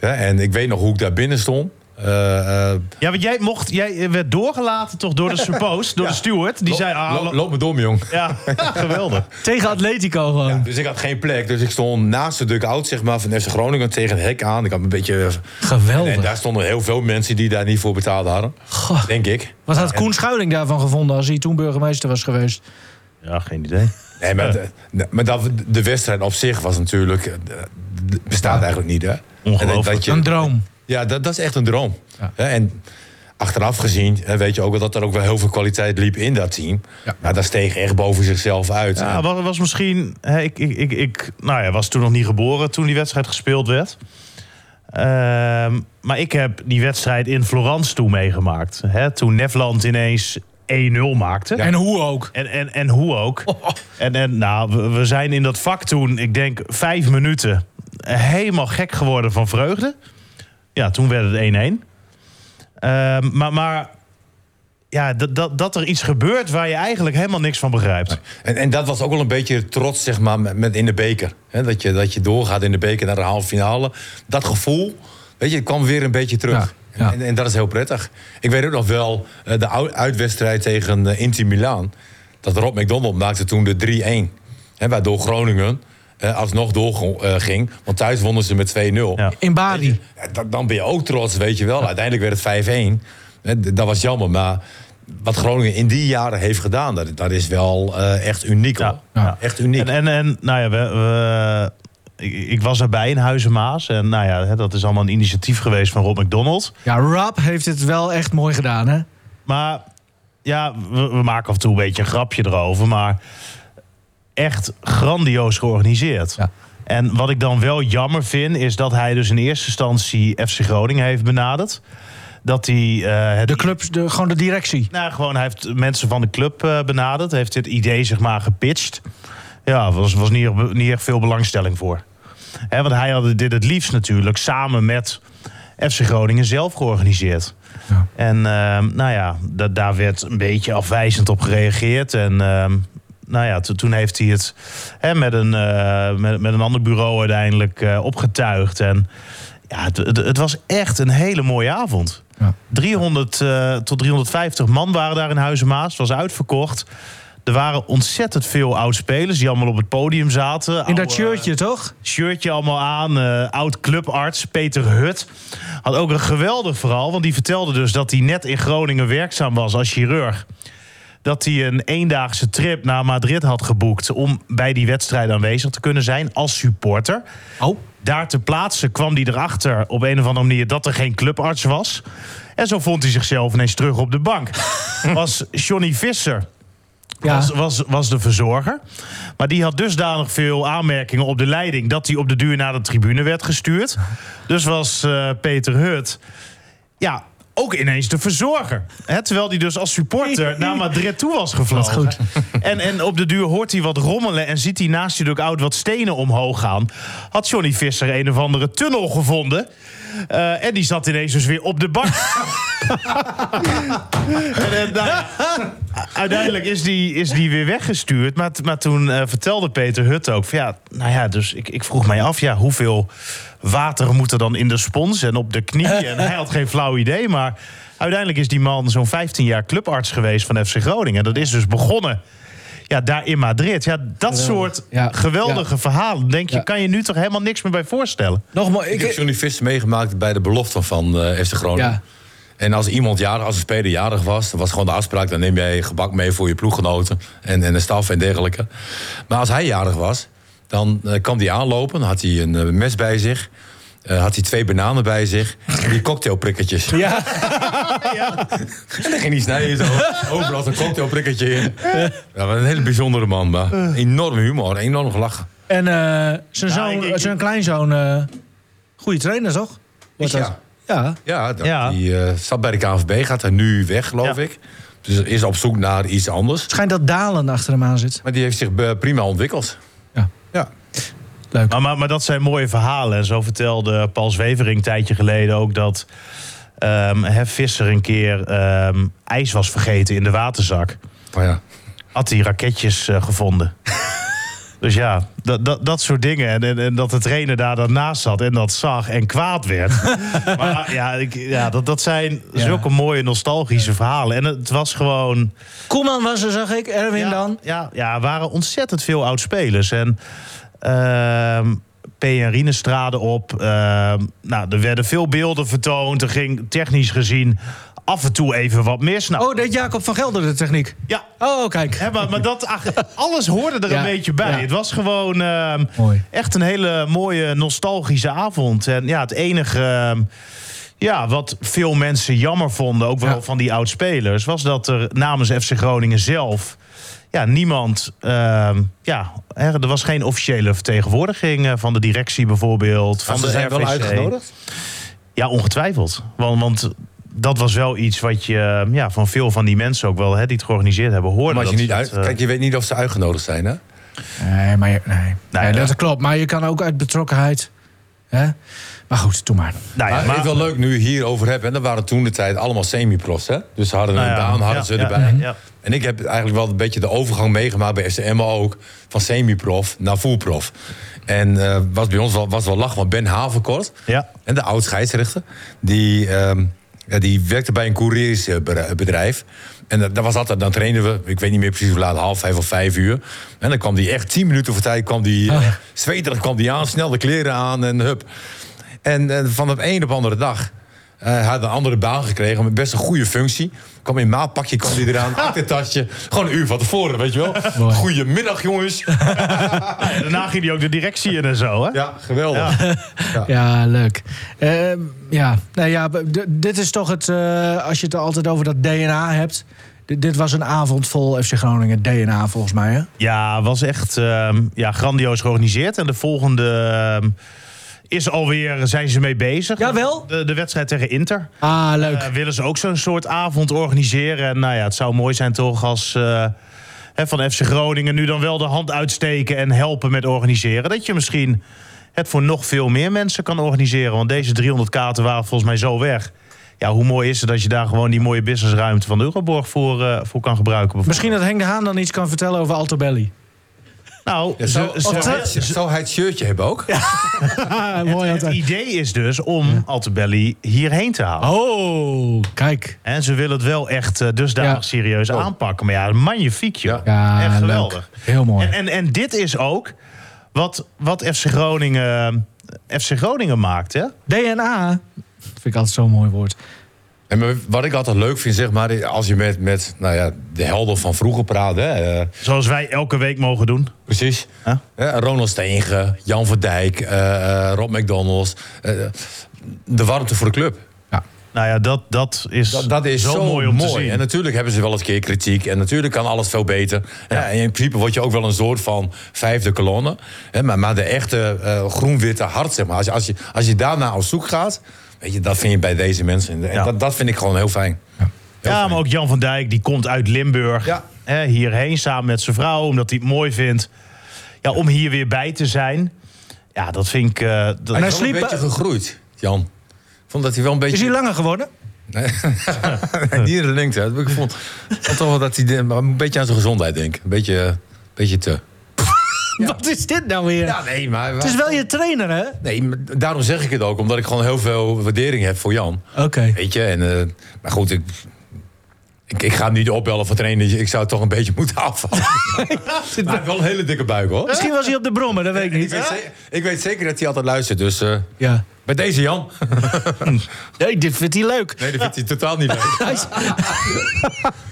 Ja, en ik weet nog hoe ik daar binnen stond. Eh, eh, Ja, want jij, mocht, jij werd doorgelaten toch door de suppose, door Ja. de steward. Die lo- zei... ah, lo- lo- loop me door, mijn jong. ja, geweldig. Tegen Atletico gewoon. Dus ik had geen plek. Dus ik stond naast de dugout zeg maar, van FC Groningen tegen het hek aan. Ik had een beetje... Geweldig. En daar stonden heel veel mensen die daar niet voor betaald hadden. Goh. Denk ik. Wat had Koen Schuiling daarvan gevonden als hij toen burgemeester was geweest? Ja, geen idee. Nee, maar, de, maar dat, de wedstrijd op zich was natuurlijk... eh, d- bestaat eigenlijk niet, hè? Ongelooflijk. En dat je- Een droom. Ja, dat, dat is echt een droom. Ja. Hè, En achteraf gezien hè, weet je ook wel dat er ook wel heel veel kwaliteit liep in dat team. Ja. Maar dat steeg echt boven zichzelf uit. Ja, En- was, was misschien. hè, ik, ik, ik, ik nou ja, was toen nog niet geboren toen die wedstrijd gespeeld werd. Ehm, maar ik heb die wedstrijd in Florence toen meegemaakt. Hè, toen Nefland ineens 1-0 maakte. En hoe ook. En, en, en hoe ook. En, en nou, we, we zijn in dat vak toen, ik denk vijf minuten, helemaal gek geworden van vreugde. Ja, toen werd het 1-1. Ehm, maar maar ja, dat, dat, dat er iets gebeurt waar je eigenlijk helemaal niks van begrijpt. En, en dat was ook wel een beetje trots, zeg maar, met, met in de beker. Hè, dat, je, dat je doorgaat in de beker naar de halve finale. Dat gevoel, weet je, het kwam weer een beetje terug. Ja, ja. En, en dat is heel prettig. Ik weet ook nog wel eh, de ou- uitwedstrijd tegen eh, Inter Milaan. Dat Rob McDonald maakte toen de 3-1. Hè, waardoor Groningen eh, alsnog doorging. Want thuis wonnen ze met 2-0. Ja. In Bari. Ja, dan- dan ben je ook trots, weet je wel. Uiteindelijk werd het 5-1. Hè, d- Dat was jammer, maar wat Groningen in die jaren heeft gedaan, dat, dat is wel eh, echt uniek. Ja, hoor. ja. Echt uniek. En, en, en nou ja, we, we- ik, ik was erbij in Huizen Maas. En nou ja, hè, dat is allemaal een initiatief geweest van Rob McDonald. Ja, Rob heeft het wel echt mooi gedaan, hè? Maar ja, we, we maken af en toe een beetje een grapje erover. Maar echt grandioos georganiseerd. Ja. En wat ik dan wel jammer vind, is dat hij dus in eerste instantie FC Groningen heeft benaderd. Dat hij eh, het De club, de, gewoon de directie. Nou, gewoon, hij heeft mensen van de club eh, benaderd. Heeft dit idee, zeg maar, gepitcht. Ja, was, was niet, echt- niet echt veel belangstelling voor. Hè, want hij had dit het liefst natuurlijk samen met FC Groningen zelf georganiseerd. Ja. En ehm, nou ja, da- daar werd een beetje afwijzend op gereageerd. En ehm, nou ja, to- toen heeft hij het hè, met, een, eh, met, met een ander bureau uiteindelijk eh, opgetuigd. En ja, het, het, het was echt een hele mooie avond. Ja. 300 eh, tot 350 man waren daar in Huizenmaas. Het was uitverkocht. Er waren ontzettend veel oud-spelers die allemaal op het podium zaten. In Oude, dat shirtje, toch? shirtje allemaal aan. eh, oud clubarts Peter Hut had ook een geweldig verhaal. Want die vertelde dus dat hij net in Groningen werkzaam was als chirurg. Dat hij een eendaagse trip naar Madrid had geboekt om bij die wedstrijd aanwezig te kunnen zijn als supporter. Oh. Daar te plaatsen kwam hij erachter op een of andere manier dat er geen clubarts was. En zo vond hij zichzelf ineens terug op de bank. Was Johnny Visser Ja. was, was, was de verzorger. Maar die had dusdanig veel aanmerkingen op de leiding... dat hij op de duur naar de tribune werd gestuurd. Dus was eh, Peter Hut... ja, ook ineens de verzorger. Hè, terwijl hij dus als supporter naar Madrid toe was gevlogen. Wat En, en op de duur hoort hij wat rommelen... en ziet hij naast je oud wat stenen omhoog gaan. Had Johnny Visser een of andere tunnel gevonden... Eh, en die zat ineens dus weer op de bank. en, eh, nou, uiteindelijk is die, is die weer weggestuurd. Maar, t- maar toen eh, vertelde Peter Hut ook... Van, ja, nou ja, dus ik, ik vroeg mij af, ja, hoeveel water moet er dan in de spons en op de knieën. En hij had geen flauw idee, maar uiteindelijk is die man zo'n 15 jaar clubarts geweest van FC Groningen. Dat is dus begonnen ja, daar in Madrid. Ja, dat soort Ja. geweldige verhalen, denk je, Ja. kan je nu toch helemaal niks meer bij voorstellen. Nogmaals, Ik heb ik, Johnny Vis meegemaakt bij de belofte van eh FC Groningen. Ja. En als iemand jarig, als een speler jarig was, dan was gewoon de afspraak: dan neem jij gebak mee voor je ploeggenoten en, en de staf en dergelijke. Maar als hij jarig was, dan eh, kwam hij aanlopen, dan had hij een eh, mes bij zich. eh, had hij twee bananen bij zich. en Die cocktailprikkertjes. ja, En dan ging hij snijden. Zo. Overal een cocktailprikkertje in. Ja, maar een hele bijzondere man. Maar enorm humor. Enorm gelachen. en eh, zijn, Ja, zoon, ik- ik- zijn kleinzoon, eh goede trainer toch? Wordt Ja. dat? ja. Ja, dat- Ja. die eh, zat bij de KNVB. Gaat er nu weg, geloof Ja. ik. Dus is op zoek naar iets anders. Schijnt dat Dalen achter hem aan zit. Maar die heeft zich eh, prima ontwikkeld. Ja. Ja. Leuk. Nou, Maar, maar, maar dat zijn mooie verhalen. En zo vertelde Paul Zwevering een tijdje geleden ook dat ehm Hef Visser een keer ehm, ijs was vergeten in de waterzak. Maar ja. Had hij raketjes eh, gevonden. dus ja, dat, dat, dat soort dingen. En, en, en dat de trainer daar dan naast zat en dat zag en kwaad werd. maar ja, ik, ja dat, dat zijn Ja. zulke mooie nostalgische verhalen. En het was gewoon... Koeman was er, zag ik. Erwin Ja, dan. Ja, ja, er waren ontzettend veel oud-spelers. En ehm P. en Rienestrade op. ehm, nou, er werden veel beelden vertoond. Er ging technisch gezien af en toe even wat mis. Nou, Oh, deed Jacob van Gelder de techniek. ja. Oh, kijk. Hè, maar, maar dat, ach, alles hoorde er Ja, een beetje bij. ja. Het was gewoon ehm, Mooi. echt een hele mooie nostalgische avond. En ja, het enige ehm, ja, wat veel mensen jammer vonden, ook wel Ja. van die oud-spelers... was dat er namens FC Groningen zelf ja, niemand... ehm, ja, hè, er was geen officiële vertegenwoordiging eh, van de directie bijvoorbeeld. Van Maar Ah, ze de zijn wel RVC. uitgenodigd? Ja, ongetwijfeld. Want... want dat was wel iets wat je eh, ja, van veel van die mensen ook wel, hè, die het georganiseerd hebben, hoorde. Maar als je dat niet ze uit... het, eh, Ah, Kijk, je weet niet of ze uitgenodigd zijn, hè? Nee, maar je- nee. nee, ja. dat klopt. Maar je kan ook uit betrokkenheid. Hè? Maar goed, doe maar. Nou ja, maar, maar- het is wel leuk nu hierover hebben. En dat waren toen de tijd allemaal semi-profs, hè? Dus ze hadden een Nou ja, baan, hadden ja, ze ja, erbij. ja, ja. En ik heb eigenlijk wel een beetje de overgang meegemaakt bij SMO ook. Van semi-prof naar full-prof. En eh, was bij ons wel, was wel lach, want Ben Havenkort... Ja. en de oud-scheidsrechter, die, ehm, ja, die werkte bij een couriersbedrijf. En dat, dat was altijd, dan trainden we, ik weet niet meer precies hoe laat, half vijf of vijf uur. En dan kwam die echt tien minuten voor tijd, kwam die, eh, zweterig kwam die aan, snel de kleren aan en hup. En, eh, van de een op de andere dag eh, hij had een andere baan gekregen, met best een goede functie. Kwam in maatpakje, kwam die eraan, aktentasje. Gewoon een uur van tevoren, weet je wel. Goedemiddag, jongens. En Nou, daarna ging hij ook de directie in en zo, hè? Ja, geweldig. Ja, leuk. Ehm, ja, nou ja, d- dit is toch het. eh, als je het altijd over dat DNA hebt. D- dit was een avond vol FC Groningen DNA, volgens mij. Hè? Ja, was echt ehm, ja, grandioos georganiseerd. En de volgende ehm, is alweer, zijn ze mee bezig. Jawel. De, de wedstrijd tegen Inter. Ah, leuk. Eh, willen ze ook zo'n soort avond organiseren. En nou ja, het zou mooi zijn toch als... eh, hè, van FC Groningen nu dan wel de hand uitsteken en helpen met organiseren. Dat je misschien het voor nog veel meer mensen kan organiseren. Want deze 300 kaarten waren volgens mij zo weg. Ja, hoe mooi is het dat je daar gewoon die mooie businessruimte van de Euroborg voor, eh, voor kan gebruiken. bijvoorbeeld. Misschien dat Henk de Haan dan iets kan vertellen over Altobelli. Nou, Ja, zo, zou, zo- zou hij- zou hij het shirtje hebben ook? Ah, mooi het altijd. idee is dus om Altebelli hierheen te halen. Oh, kijk. En ze willen het wel echt eh, dusdanig Ja. Oh. serieus aanpakken. Maar ja, magnifiek joh. Ja, echt leuk. geweldig. Heel mooi. En, en, en dit is ook wat, wat FC Groningen... FC Groningen maakt, hè? DNA. Dat vind ik altijd zo'n mooi woord. En maar wat ik altijd leuk vind, zeg maar, als je met, met nou ja, de helden van vroeger praat, hè, eh, Zoals wij elke week mogen doen. precies. Huh? Eh, Ronald Steenge, Jan van Dijk, eh, eh, Rob McDonald's. eh, de warmte voor de club. Nou ja, dat, dat is, Dat, dat is zo, mooi om te zien. En natuurlijk hebben ze wel eens een keer kritiek. En natuurlijk kan alles veel beter. Ja. en in principe word je ook wel een soort van vijfde kolonne. Hè, maar, maar de echte eh, groen-witte hart, zeg maar. Als je, als je, als je daarna op zoek gaat, weet je, dat vind je bij deze mensen. En Ja. dat, dat vind ik gewoon heel fijn. Ja, maar ook Jan van Dijk, die komt uit Limburg Ja. hè, hierheen samen met zijn vrouw, omdat hij het mooi vindt. Ja, om hier weer bij te zijn. Ja, dat vind ik. eh, dat, En hij Hij is wel sliep- een beetje gegroeid, Jan. Ik vond dat hij wel een beetje... Is hij langer geworden? Niet in de lengte. hè. Ik vond, vond toch wel dat hij de- maar een beetje aan zijn gezondheid denkt. Een beetje, een beetje eh, te. Wat is dit nou weer? Ja, nee, maar... het is wel je trainer, hè? Nee, maar daarom zeg ik het ook. Omdat ik gewoon heel veel waardering heb voor Jan. Oké. Weet je, en, eh, maar goed, ik, ik, ik ga hem niet opbellen voor trainen. Ik zou toch een beetje moeten afvallen. maar hij heeft wel een hele dikke buik, hoor. Misschien was hij op de brommen, dat weet ik Ik niet. weet, ze- ik weet zeker dat hij altijd luistert, dus... eh, Ja. bij deze Jan. Nee, dit vindt hij leuk. Nee, dat vindt hij totaal niet leuk.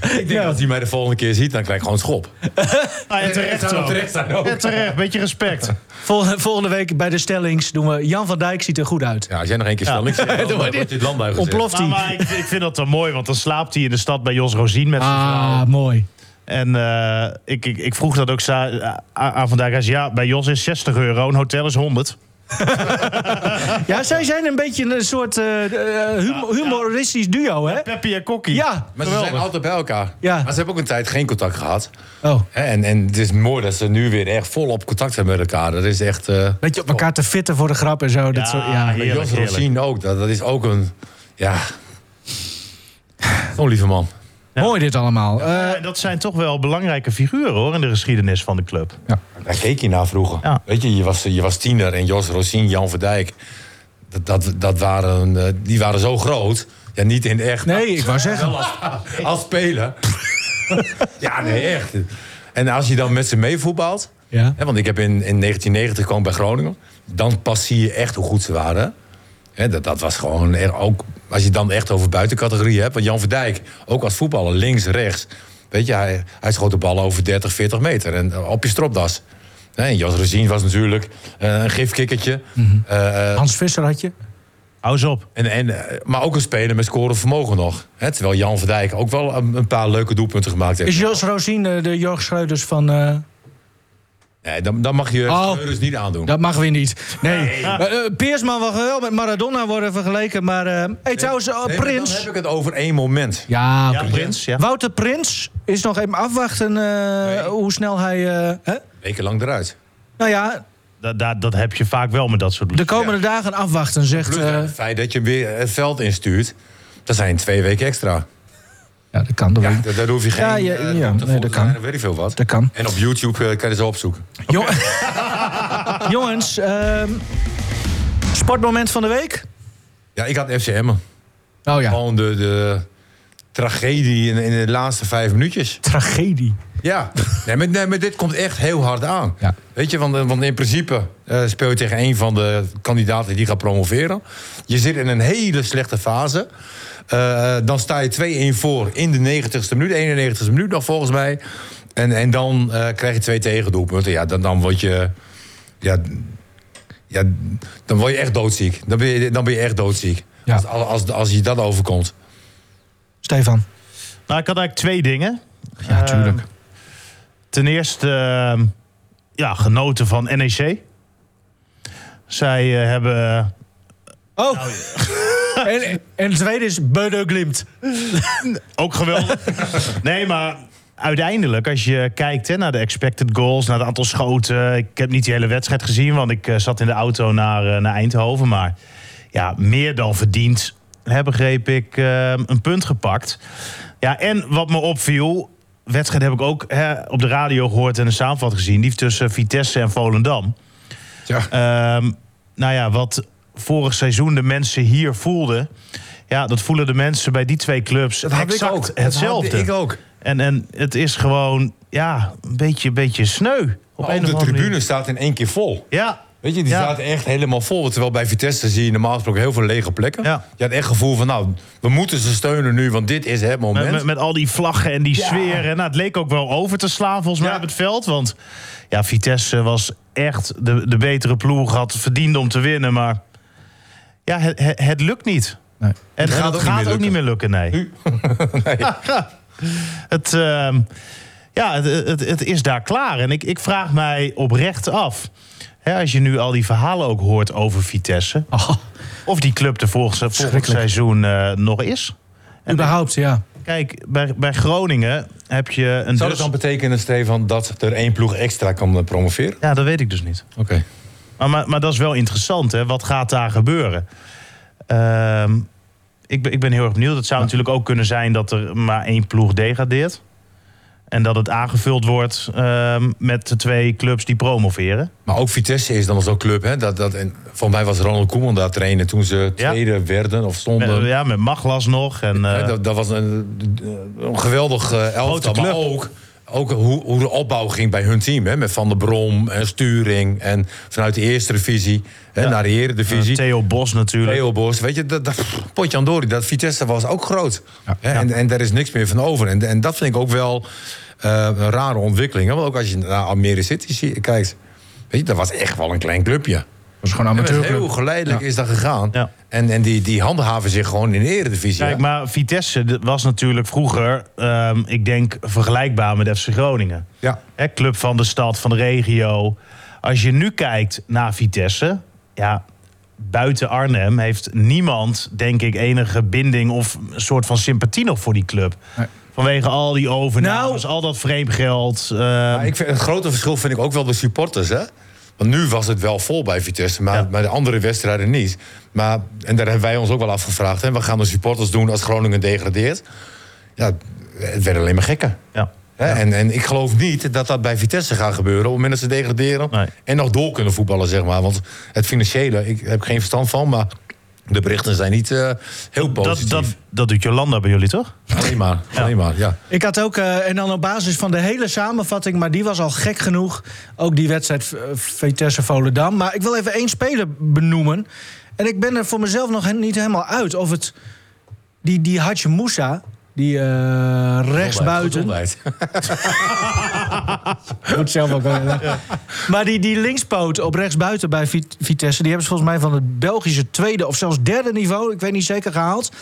ik denk dat als hij mij de volgende keer ziet, dan krijg ik gewoon een schop. Ah, en Het terecht zou ook. terecht zijn ook. En terecht, beetje respect. Volgende, volgende week bij de stellings doen we... Jan van Dijk ziet er goed uit. Ja, als jij nog één keer stelling zegt, dan wordt dit het land bij gezet. Ontploft Nou, hij. maar ik, ik vind dat dan mooi, want dan slaapt hij in de stad bij Jos Rosien met zijn vrouw. Ah, mooi. En eh, ik, ik, ik vroeg dat ook sa- a- aan vandaag. Hij zei, ja, bij Jos is 60 euro, een hotel is 100. Ja, zij zijn een beetje een soort eh, eh, hum- humoristisch duo, hè? Peppy en Kokkie. Ja. Maar ze zijn altijd bij elkaar. Ja. Maar ze hebben ook een tijd geen contact gehad. Oh, Hè, En, en het is mooi dat ze nu weer echt volop contact hebben met elkaar. Dat is echt... eh weet je, op elkaar te fitten voor de grap en zo. Ja, dat soort, ja. heerlijk. Jos Rosien ook. Dat, dat is ook een... Ja... Oh, lieve man. Mooi dit allemaal. Eh, Ja, dat zijn toch wel belangrijke figuren hoor in de geschiedenis van de club. Daar keek je naar vroeger. Ja. Weet je, je was, je was tiener en Jos Rosien, Jan Verdijk... Dat, dat, dat waren, eh, die waren zo groot. Ja, niet in echt. nee, ik wou zeggen. Als speler. ja, nee, echt. En als je dan met ze meevoetbalt. Ja. Hè, want ik heb in, in 1990 kwam ik bij Groningen. Dan pas zie je echt hoe goed ze waren. Hè, dat, dat was gewoon er, ook. Als je het dan echt over buitencategorie hebt. Want Jan Verdijk, ook als voetballer, links, rechts. Weet je, hij, hij schoot de bal over 30, 40 meter. En eh, op je stropdas. Hè, en Jos Rezien was natuurlijk eh, een gifkikkertje. Eh, eh, Hans Visser had je. Hou eens op. en, en, eh, maar ook een speler met scoren vermogen nog. Hè, terwijl Jan Verdijk ook wel een, een paar leuke doelpunten gemaakt heeft. Is Jos Rosien eh, de Jorg Schreuders van... eh, Nee, dan, dan mag je Oh. Schreuders niet aandoen. Dat mag weer niet. Nee. Eh, eh, Peersman mag wel met Maradona worden vergeleken, maar... eh hey, trouwens, eh, Nee, maar Prins... Dan heb ik het over één moment. Ja, Ja, oké. Prins. Ja. Wouter Prins is nog even afwachten eh, hoe snel hij... eh, hè? Wekenlang eruit. Nou ja, Dat, dat, dat heb je vaak wel met dat soort de bloed. komende dagen afwachten, zegt... Plus eh, het feit dat je hem weer het veld instuurt. Dat zijn twee weken extra. ja, dat kan. Dat, Ja, weet ik. daar, daar hoef je geen... Ja, ja, eh, ja, op te nee, dat volgen, kan. daar weet ik veel wat. dat kan. En op YouTube eh, kan je ze opzoeken. Jong- Jongens, ehm, sportmoment van de week? Ja, ik had FC Emmen. Oh ja, Gewoon de, de tragedie in, in de laatste vijf minuutjes. tragedie. Ja, nee, maar, nee, maar dit komt echt heel hard aan. Ja. Weet je, want, eh, want in principe eh, speel je tegen een van de kandidaten die gaat promoveren. Je zit in een hele slechte fase. Eh, dan sta je 2-1 voor in de 90ste minuut, 91ste minuut nog volgens mij. En, en dan eh, krijg je twee tegendoelpunten. Ja, dan, dan word je. Ja, ja, dan word je echt doodziek. Dan ben je, dan ben je echt doodziek. Ja. Als, als, als je dat overkomt. Stefan. Nou, ik had eigenlijk twee dingen. Ja, tuurlijk. Ehm, ten eerste, ehm, ja, genoten van NEC. Zij eh, hebben Oh! en, en het tweede is Beudo Glimt. Ook geweldig. nee, maar uiteindelijk, als je kijkt hè, naar de expected goals, naar het aantal schoten. Ik heb niet die hele wedstrijd gezien, want ik eh, zat in de auto naar, eh, naar Eindhoven. Maar ja, meer dan verdiend, hè, begreep ik, eh, een punt gepakt. Ja, en wat me opviel. Wedstrijd heb ik ook hè, op de radio gehoord en een samenvatting gezien. Die tussen Vitesse en Volendam. Ja. Ehm, nou ja, wat vorig seizoen de mensen hier voelden. Ja, dat voelen de mensen bij die twee clubs exact hetzelfde. Ik ook. En, en het is gewoon, ja, een beetje, beetje sneu. Op Maar een ook of de andere tribune manier. staat in één keer vol. Ja. Weet je, die Ja. zaten echt helemaal vol. Terwijl bij Vitesse zie je normaal gesproken heel veel lege plekken. Ja. Je had echt het gevoel van, nou, we moeten ze steunen nu, want dit is het moment. Met, met, met al die vlaggen en die Ja. sfeer. En nou, het leek ook wel over te slaan volgens mij Ja. op het veld. Want ja, Vitesse was echt de, de betere ploeg. Had verdiend om te winnen. Maar ja, het, het, het lukt niet. Nee. En het gaat gaat, ook ook, niet meer gaat ook lukken. niet meer lukken, nee. Nee. Het, ehm, ja, het, het, het is daar klaar. En ik, ik vraag mij oprecht af. Hè, als je nu al die verhalen ook hoort over Vitesse. Oh, Of die club er volgens- volgend Schrikkelijk. seizoen eh, nog is. überhaupt, ja. Kijk, bij, bij Groningen heb je een. Zou dus- dat dan betekenen, Stefan, dat er één ploeg extra kan eh, promoveren? Ja, dat weet ik dus niet. Oké. Maar, maar, maar dat is wel interessant, hè? Wat gaat daar gebeuren? Ehm, ik, ben, ik ben heel erg benieuwd. Het zou natuurlijk ook kunnen zijn dat er maar één ploeg degradeert. En dat het aangevuld wordt ehm, met de twee clubs die promoveren. Maar ook Vitesse is dan zo'n club. Hè? Dat, dat, en volgens mij was Ronald Koeman daar trainer toen ze Ja. tweede werden of Met, stonden. Eh, ja, met Maglas nog. En, eh, Hè, dat, dat was een, een geweldig eh, elftal. Grote Maar club. ook, ook hoe, hoe de opbouw ging bij hun team. Hè? Met Van der Brom en Sturing. En vanuit de eerste divisie hè, naar de eredivisie. Theo Bos natuurlijk. Theo Bos, weet je, dat, dat, potjandori, dat Vitesse was ook groot. Hè, En, en daar is niks meer van over. En, en dat vind ik ook wel eh, een rare ontwikkeling. Hè? Want ook als je naar Almere City zie- kijkt, weet je, dat was echt wel een klein clubje. was gewoon een Ja, maar amateurclub. Heel geleidelijk is dat gegaan. Ja. En, en die, die handhaven zich gewoon in de eredivisie. Kijk, hè? maar Vitesse dat was natuurlijk vroeger, ehm, ik denk, vergelijkbaar met FC Groningen. Ja. Hè, club van de stad, van de regio. Als je nu kijkt naar Vitesse, ja, buiten Arnhem heeft niemand, denk ik, enige binding of een soort van sympathie nog voor die club. Nee. Vanwege al die overnames, Nou- al dat vreemdgeld. ehm, Maar ik vind, het grote verschil vind ik ook wel de supporters, hè? Want nu was het wel vol bij Vitesse, maar, Ja. maar de andere wedstrijden niet. Maar, en daar hebben wij ons ook wel afgevraagd. Hè? Wat gaan de supporters doen als Groningen degradeert? Ja, het werd alleen maar gekker. ja. Hè? En, en ik geloof niet dat dat bij Vitesse gaat gebeuren... op het moment dat ze degraderen Nee. en nog door kunnen voetballen, zeg maar. Want het financiële, ik heb geen verstand van... maar de berichten zijn niet eh, heel Dat, positief. dat, dat doet Jolanda bij jullie, toch? Alleen maar, alleen maar, ja. Ik had ook, eh, en dan op basis van de hele samenvatting, maar die was al gek genoeg. Ook die wedstrijd eh, Vitesse Volendam. Maar ik wil even één speler benoemen. En ik ben er voor mezelf nog he- niet helemaal uit of het. Die, die Hadje Moussa, die eh rechtsbuiten. Gezondheid. Moet zelf ook wel, hè. Maar die, die linkspoot op rechtsbuiten bij Vit- Vitesse... die hebben ze volgens mij van het Belgische tweede of zelfs derde niveau... ik weet niet zeker, gehaald.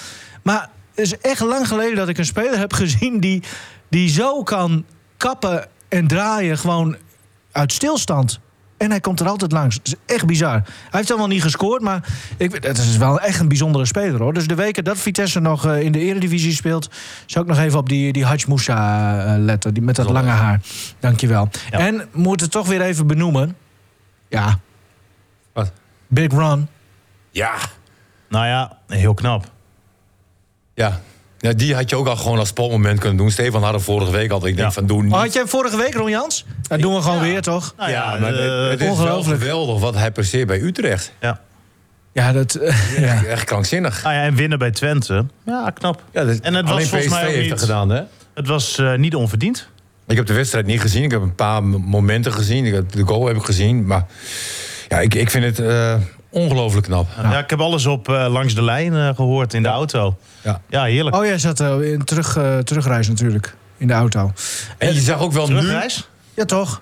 Maar het is echt lang geleden dat ik een speler heb gezien... die, die zo kan kappen en draaien gewoon uit stilstand... En hij komt er altijd langs. Het is echt bizar. Hij heeft dan wel niet gescoord, maar ik, weet- het is wel echt een bijzondere speler hoor. Dus de weken dat Vitesse nog eh, in de Eredivisie speelt, zou ik nog even op die, die Hadj Moussa eh, letten. Die, met dat lange haar. Dankjewel. Ja. En moet het toch weer even benoemen. Ja, Wat? Big Run. Ja. Nou ja, heel knap. Ja. Ja, die had je ook al gewoon als spelmoment kunnen doen. Stefan had er vorige week al. Ik denk Ja. van, doe niet. Oh, had jij hem vorige week, Ron Jans? Dat doen we gewoon weer, toch? Nou ja, ja, maar eh, het, het is wel ongelooflijk. geweldig wat hij presteert bij Utrecht. ja. Ja, dat... eh, ja. Echt krankzinnig. Nou ja, en winnen bij Twente. Ja, knap. Ja, dat- en het alleen was volgens mij PSV ook heeft niet, dat gedaan, hè? Het was eh, niet onverdiend. Ik heb de wedstrijd niet gezien. Ik heb een paar m- momenten gezien. Ik heb, de goal heb ik gezien. Maar ja, ik, ik vind het eh, ongelooflijk knap. Ja. ik heb alles op eh, langs de lijn eh, gehoord in de auto. Ja. Ja, heerlijk. Oh, jij zat eh, in terug, eh, terugreis natuurlijk. In de auto. En je zag ook wel nu... Terugreis? Ja, toch? Dat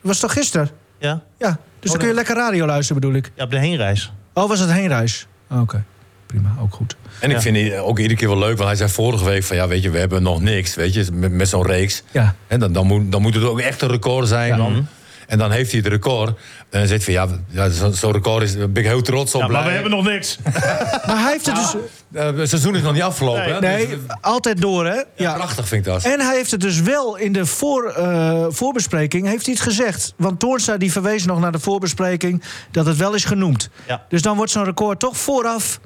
was toch gisteren? Ja. Oh, Ja, dus dan kun je lekker radio luisteren bedoel ik. ja, op de heenreis. Oh, was het heenreis? Oh, Oké, prima, ook goed. En ik Ja. vind het ook iedere keer wel leuk. Want hij zei vorige week van... Ja, weet je, we hebben nog niks. Weet je, met, met zo'n reeks. Ja. En dan, dan, moet, dan moet het ook echt een record zijn. Mhm. Dan. En dan heeft hij het record. En dan zegt hij van ja, ja zo- zo'n record is, daar ben ik heel trots op. Ja, blij. maar we hebben nog niks. Maar hij heeft het dus... Eh, het seizoen is nog niet afgelopen. Nee. hè? Dus, Nee, eh, altijd door hè? Ja. Prachtig vind ik dat. En hij heeft het dus wel in de voor, eh, voorbespreking heeft hij het gezegd. Want Toornstra die verwees nog naar de voorbespreking dat het wel is genoemd. Ja. Dus dan wordt zo'n record toch vooraf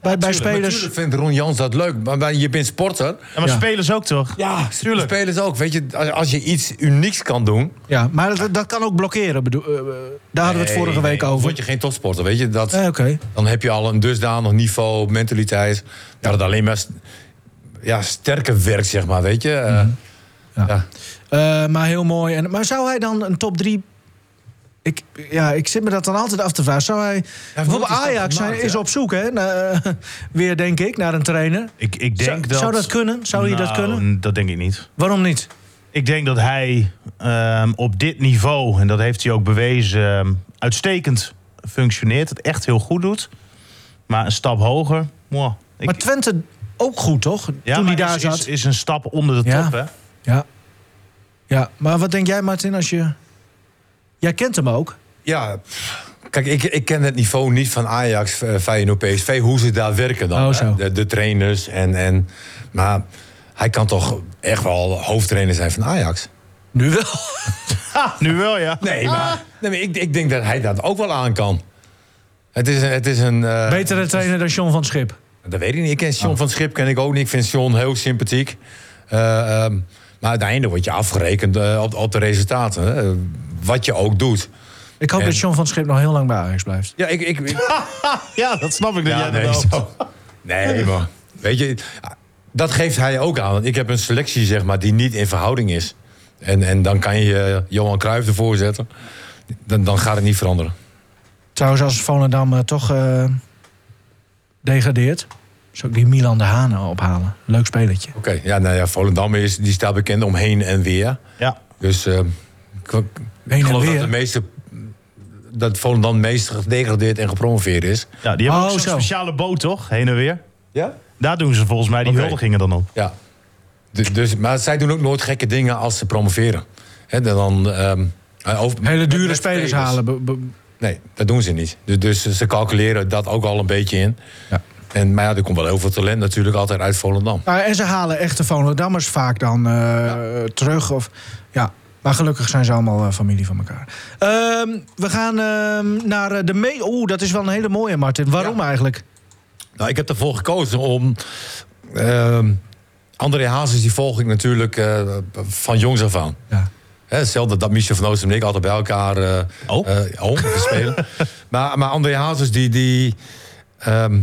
bij, bij spelers... Mhm. Natuurlijk vindt Ron Jans dat leuk, maar, maar je bent sporter. Ja, maar Ja. spelers ook toch? Ja, tuurlijk. Spelers ook. Weet je, als- als je iets unieks kan doen. Ja, maar dat, dat kan ook blokkeren. bedoel- eh, eh, daar hadden we het vorige Nee, week Dan over. word je geen topsporter, weet je. Dat, Eh, Oké. Dan heb je al een dusdanig niveau, mentaliteit. Dat het alleen maar st- ja, sterker werkt, zeg maar, weet je. Eh, Mhm. Ja. ja. Eh, maar heel mooi. En, maar zou hij dan een top 3... Ik, ja, ik zit me dat dan altijd af te vragen. Zou hij... bijvoorbeeld is dat Ajax gemaakt, zijn- is ja. op zoek, hè? naar- eh, weer, denk ik, naar een trainer. Ik, ik denk zou, dat... zou dat kunnen? Zou hij dat Nou, kunnen? Dat denk ik niet. Waarom niet? Ik denk dat hij ehm, op dit niveau, en dat heeft hij ook bewezen, ehm, uitstekend functioneert. Het echt heel goed doet. Maar een stap hoger, mwah. Ik- maar Twente ook goed, toch? ja, Toen hij maar daar is, zat. Is, is een stap onder de Ja. top, hè? Ja. ja. Maar wat denk jij, Martin, als je... Jij kent hem ook. Ja, pff, kijk, ik, ik ken het niveau niet van Ajax, eh, Feyenoord, PSV, hoe ze daar werken dan. Oh, hè? zo. De, de trainers en, en... Maar hij kan toch echt wel hoofdtrainer zijn van Ajax? Nu wel. Nu wel, ja. Nee, Ah. maar, nee, maar ik, ik denk dat hij dat ook wel aan kan. Het is, een- het is een... eh, Betere trainer dan John van Schip. Oh. Dat weet ik niet. Ik ken John van Schip ken ik ook niet. Ik vind John heel sympathiek. Eh, ehm, Maar uiteindelijk word je afgerekend eh, op, op de resultaten. Hè? Wat je ook doet. Ik hoop En- dat John van Schip nog heel lang bij Ajax blijft. Ja, ik, ik, ik- Ja, dat snap ik. Dat Ja, jij dat nee, wel- zo. Nee, man. Weet je, dat geeft hij ook aan. Want ik heb een selectie, zeg maar, die niet in verhouding is. En, en dan kan je eh, Johan Cruijff ervoor zetten. Dan, dan gaat het niet veranderen. Trouwens, als Volendam eh, toch eh, degradeert... zou ik die Milan de Hane ophalen. Leuk spelletje. Oké, ja, nou ja, Volendam is, die staat bekend om heen en weer. Ja. Dus eh, ik, ik en geloof weer? dat de meeste... Dat Volendam het meest gedegradeerd en gepromoveerd is. ja, die hebben Oh, ook zo'n zo. speciale boot, toch? Heen en weer. Ja? Daar doen ze volgens mij die Oké. huldigingen dan op. Ja. Dus, dus, maar zij doen ook nooit gekke dingen als ze promoveren. Hè, dan, dan, ehm, eh, over- Hele met- dure met spelers halen. be- be- Nee, dat doen ze niet. Dus, dus ze calculeren dat ook al een beetje in. Ja. En, maar ja, er komt wel heel veel talent natuurlijk altijd uit Volendam. Nou, en ze halen echte Volendammers vaak dan eh, terug. Of, ja. Maar gelukkig zijn ze allemaal eh, familie van elkaar. Ehm, we gaan ehm, naar eh, de mee... Oeh, dat is wel een hele mooie, Martin. Waarom eigenlijk? Nou, ik heb ervoor gekozen om... ehm, André Hazes, die volg ik natuurlijk eh, van jongs af aan. Ja. Hè, Hetzelfde dat Michel van Oosten en ik altijd bij elkaar eh Oh. eh, oh, we spelen. maar, maar André Hazes, die, die, ehm,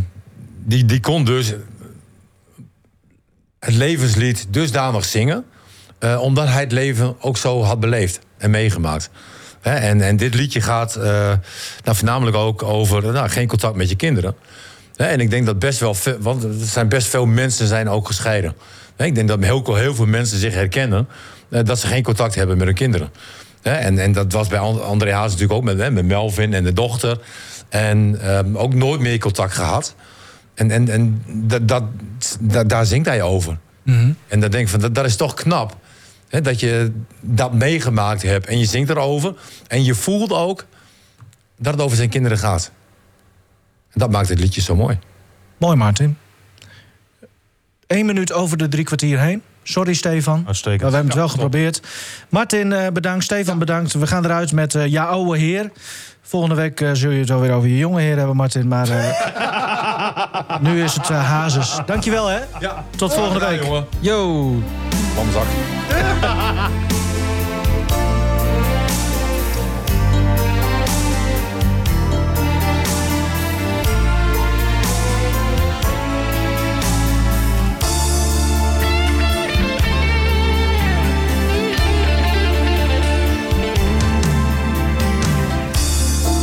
die, die kon dus het levenslied dusdanig zingen... eh, omdat hij het leven ook zo had beleefd en meegemaakt. Hè, en, en dit liedje gaat eh, nou, voornamelijk ook over nou, geen contact met je kinderen. Hè, en ik denk dat best wel veel, want er zijn best veel mensen zijn ook gescheiden. Hè, ik denk dat heel, heel veel mensen zich herkennen eh, dat ze geen contact hebben met hun kinderen. Hè, en, en dat was bij And- André Haas natuurlijk ook met, hè, met Melvin en de dochter. En ehm, ook nooit meer contact gehad. En, en, en dat, dat, da- daar zingt hij over. En dan denk ik van, dat, dat is toch knap. Hè, dat je dat meegemaakt hebt en je zingt erover. En je voelt ook dat het over zijn kinderen gaat. En dat maakt het liedje zo mooi. Mooi, Martin. Eén minuut over de drie kwartier heen. Sorry, Stefan. Uitstekend. Maar We hebben het wel geprobeerd. Martin, eh, bedankt. Stefan, bedankt. We gaan eruit met eh Ja, ouwe heer. Volgende week eh, zul je het alweer over je jonge heer hebben, Martin. Maar eh, nu is het eh, Hazes. Dankjewel, hè. Ja, Tot volgende week. Yo. Lamzak.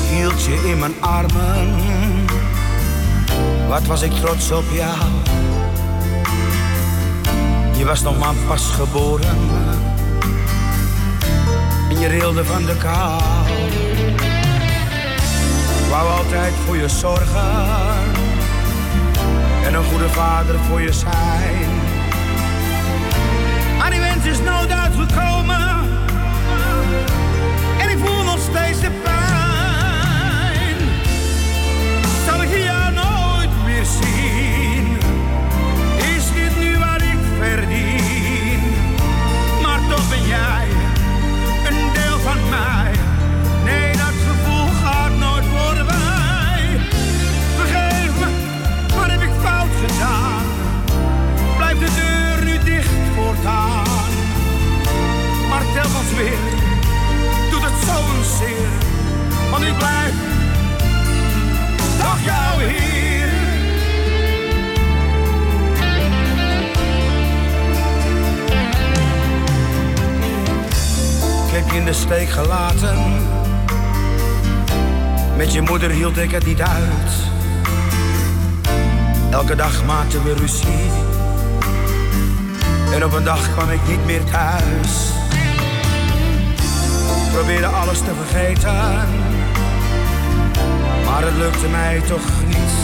hield je in mijn armen. Wat was ik trots op jou? Je was nog maar pas geboren. En je rilde van de kou. Ik wou altijd voor je zorgen. En een goede vader voor je zijn. Maar die wens is nooit uitgekomen. En ik voel nog steeds de pijn. Zal ik jou nooit meer zien? Is dit nu wat ik verdien? Maar toch ben jij een deel van mij. Nee, dat gevoel gaat nooit voorbij. Vergeef me, wat heb ik fout gedaan? Blijf de deur nu dicht voortaan. Maar telkens weer doet het zo'n zeer. Want ik blijf toch jou hier. Ik heb je in de steek gelaten. Met je moeder hield ik het niet uit. Elke dag maakten we ruzie. En op een dag kwam ik niet meer thuis probeerde alles te vergeten. Maar het lukte mij toch niet. Mm,